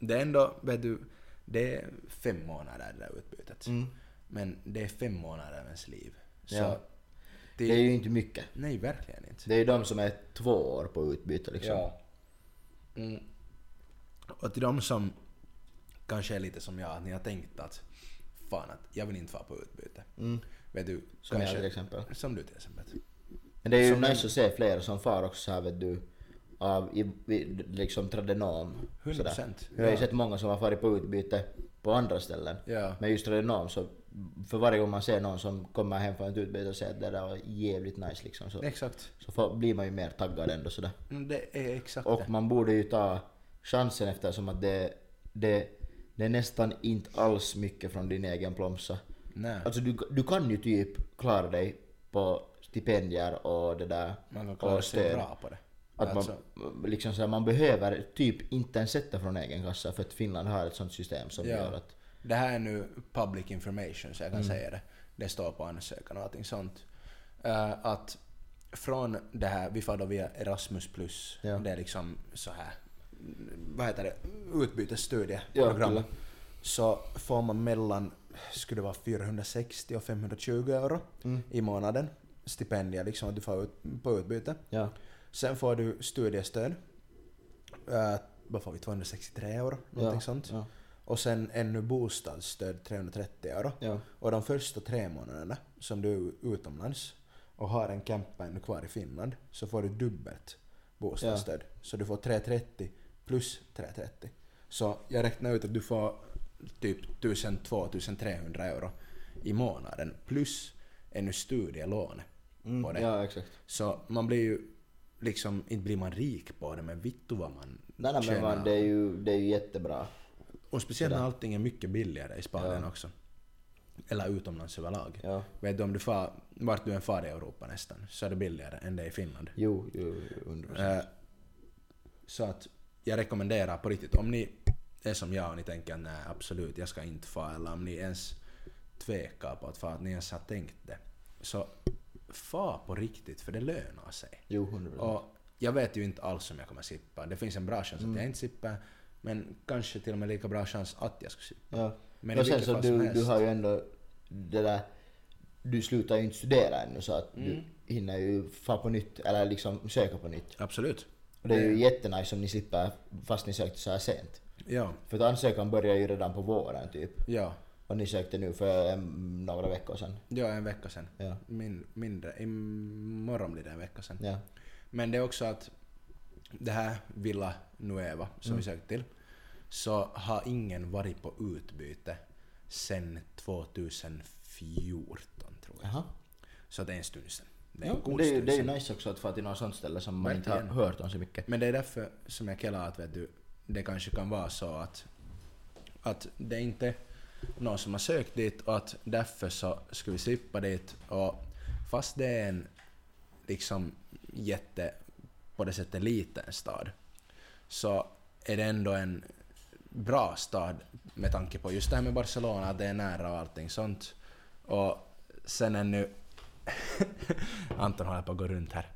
det är ändå, vet du, det är fem månader det där utbytet. Mm. Men det är fem månader av ens liv. Så Ja. det, Det är ju inte mycket. Nej, verkligen inte. Det är ju de som är två år på utbyte liksom. Ja. Mm. Och till de som kanske är lite som jag, att ni har tänkt att fan att jag vill inte vara på utbyte. Mm. Vet du, Som jag till exempel. Som du till exempel. Men det är ju Som en- nice att se fler som far också så här vet du. Av i, i, liksom tradenom. 100%. sådär. Jag har ju sett många som har farit på utbyte på andra ställen. Ja. Men just tradenom så, för varje gång man ser någon som kommer hem från ett utbyte och säger att det där var jävligt nice liksom. Så, Exakt. så får, blir man ju mer taggad ändå sådär. Mm, Det är exakt det. Och man borde ju ta chansen eftersom att det, det, det är nästan inte alls mycket från din egen plomsa. Nej. Alltså du, du kan ju typ klara dig på stipendier och det där. Man kan klara och sig stöd. bra på det. Att man, Alltså, liksom så här, man behöver typ inte ens sätta från egen kassa för att Finland har ett sånt system som Ja. gör att... det här är nu public information så jag Mm. kan säga det. Det står på ansökan och allting sånt. Eh, att från det här, vi får då via Erasmus plus, Ja. det är liksom så här, vad heter det, utbytesstudieprogram. Ja, så får man mellan, skulle det vara 460 och 520 euro i månaden. Stipendier liksom, att du får ut, på utbyte. Ja. Sen får du studiestöd. Eh, vad får vi? 263 euro? Någonting ja, sånt. Ja. Och sen ännu bostadsstöd 330 euro. Ja. Och de första tre månaderna som du är utomlands och har en campa ännu kvar i Finland så får du dubbelt bostadsstöd. Så du får 330 plus 330. Så jag räknar ut att du får typ 1200-1300 euro i månaden plus ännu studielån på det. Mm, ja, exakt. Så man blir ju liksom, inte blir man rik på det men vittu vad man Nej, nej, men tjänar. man, det, är ju, det är ju jättebra. Och speciellt när allting är mycket billigare i Spanien Ja. också. Eller utomlands överlag. Ja. Vet du om du far, vart du än far i Europa nästan, så är det billigare än det i Finland. Jo, jo, jo, undrar. Eh, Så att jag rekommenderar på riktigt, om ni är som jag och ni tänker att nej absolut jag ska inte fara, eller om ni ens tvekar på att fara, att ni ens har tänkt det. Så far på riktigt för det lönar sig. Jo, hundra procent. Och jag vet ju inte alls om jag kommer sippa. Det finns en bra chans Mm. att jag inte sippar. Men kanske till och med lika bra chans att jag skulle sippa. Ja. Men och i sen vilket så fall som du, helst. du har ju ändå det där, du slutar ju inte studera ännu så att Mm. du hinner ju få på nytt eller liksom söka på nytt. Absolut. Och det är Mm. ju jättenice om ni slipper fast ni sökte så här sent. Ja. För att ansökan börjar ju redan på våren typ. Ja. Och ni sökte nu för mm, några veckor sedan. Ja, en vecka sen. Ja. Min, mindre. Imorgon blir det en vecka sen. Ja. Men det är också att det här Villa Nueva som Mm. vi sökte till så har ingen varit på utbyte sen 2014 tror jag. Jaha. Så det är en stund sen. Det är Ja, en men god det, är ju, stund det är ju sen. nice också att få till något sånt ställe som man inte har Verkligen. hört om så mycket. Men det är därför som jag kallar att vet du, det kanske kan vara så att, att det är inte någon som har sökt dit och att därför så ska vi slippa dit. Och fast det är en liksom jätte, på det sättet liten stad, så är det ändå en bra stad med tanke på just det här med Barcelona, att det är nära och allting sånt. Och sen ännu... Anton håller på att gå runt här.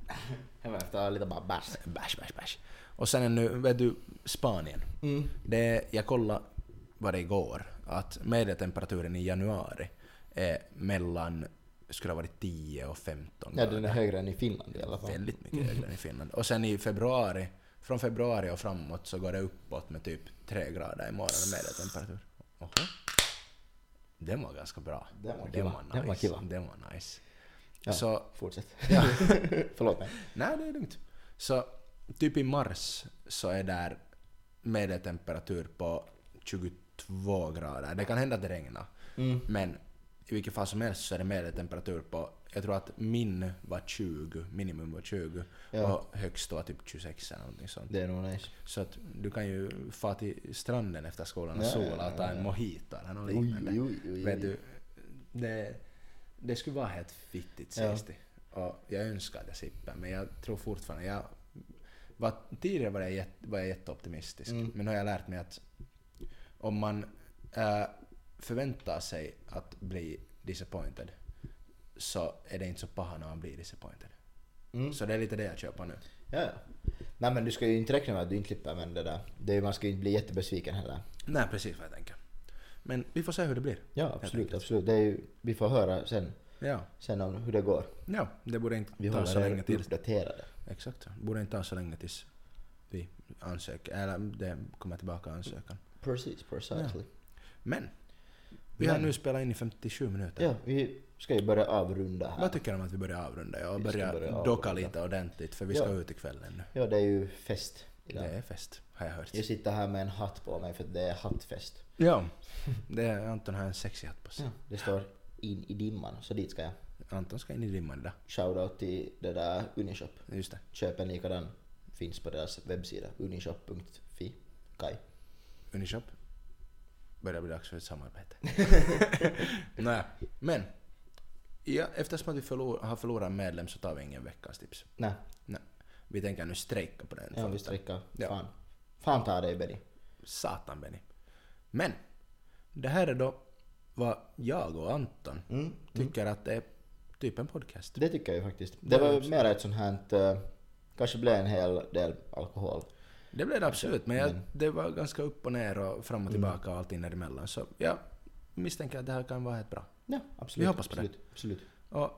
Jag behöver lite bara bärs. Bash, bash, bash. Och sen är nu, vet du, Spanien. Mm. Det, jag kollade vad det igår, att medeltemperaturen i januari är mellan, skulle ha varit 10 och 15 Ja, den är högre än i Finland i alla fall. Väldigt mycket högre än i Finland. Och sen i februari, från februari och framåt så går det uppåt med typ 3 grader i morgon medeltemperatur. Oho. Den var ganska bra. Den var Den kiva. var nice. Den var kiva. Den var nice. Ja. Så Fortsätt. Ja. Förlåt mig. Nej, det är lugnt. Så typ i mars så är där medeltemperatur på 22 grader. Det kan hända att det regnar. Men i vilket fall som helst så är det medeltemperatur på, jag tror att min var 20, minimum var 20 Ja. och högst var typ 26 eller någonting sånt. Det är nog nice. Så att du kan ju få till stranden efter skolan och Ja, sola ja, och ta ja, en ja. mojito eller något Oj, oj, liknande. oj, oj, Vet oj. du, det, det skulle vara helt fittigt Ja. sägs det. Och jag önskar att jag slipper men jag tror fortfarande... Jag var, tidigare var jag, jätte, var jag jätteoptimistisk men nu har jag lärt mig att om man äh, förväntar sig att bli disappointed så är det inte så paha när man blir disappointed. Mm. Så det är lite det jag köper nu. Ja, ja. Nej men du ska ju inte räkna med att du inte klipper men det där. Det är, man ska ju inte bli jättebesviken heller. Nej, precis vad jag tänker. Men vi får se hur det blir. Ja absolut, absolut. Det är ju, vi får höra sen, Ja, sen om hur det går. ja det borde inte Vi ta så håller länge er till. uppdaterade. Exakt. Borde inte ta så länge tills vi ansöker, eller det kommer tillbaka ansökan. Precis, precisely. Men! Vi har nu spelat in i 57 minuter. Ja. vi ska ju börja avrunda här. Vad tycker du om att vi börjar avrunda? Jag Vi ska börjar börja docka avrunda. lite ordentligt för vi ska Ja. ut ikväll ännu. Ja det är ju fest Det idag. är fest, har jag hört. Jag sitter här med en hatt på mig för att det är hattfest. Ja. Det är, Anton har en sexig hatt på sig. Ja. Det står in i dimman, så dit ska jag. Anton ska in i dimman idag. Shoutout till det där Unishop. Just det. Köp en likadan. Finns på deras webbsida. Unishop.fi. Kai. Unishop. Börjar bli dags för ett samarbete. Nej, men. Ja, eftersom att vi förlor, har förlorat en medlem så tar vi ingen veckans tips. Nej, Nej. Vi tänker nu strejka på den. jag vill faktiskt. sträcka. Ja. Fan. Fan ta dig Benny. Satan Benny. Men. Det här är då vad jag och Anton tycker att det är typ en podcast. Mm. Det tycker jag ju faktiskt. Det var ju mer ett sånt här... eh, kanske blev en hel del alkohol. Det blev det absolut, men Mm. jag, det var ganska upp och ner och fram och tillbaka och allting däremellan. Så jag misstänker att det här kan vara helt bra. Ja, absolut. Vi hoppas på det. absolut, det. Absolut. Och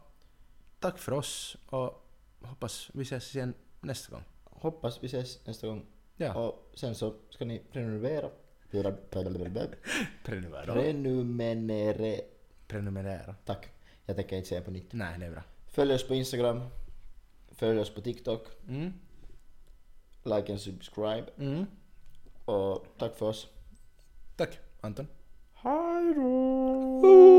tack för oss och hoppas vi ses igen nästa gång. Hoppas vi ses nästa gång. Ja. Och sen så ska ni prenumerera. Prenumerera. Prenumerera. Prenumerera. Prenumerera. Tack. Jag tänker inte säga på nytt. Nej, det är bra. Följ oss på Instagram. Följ oss på TikTok. Mm. Like and subscribe. Mm. Och tack för oss. Tack, Anton. Hej då!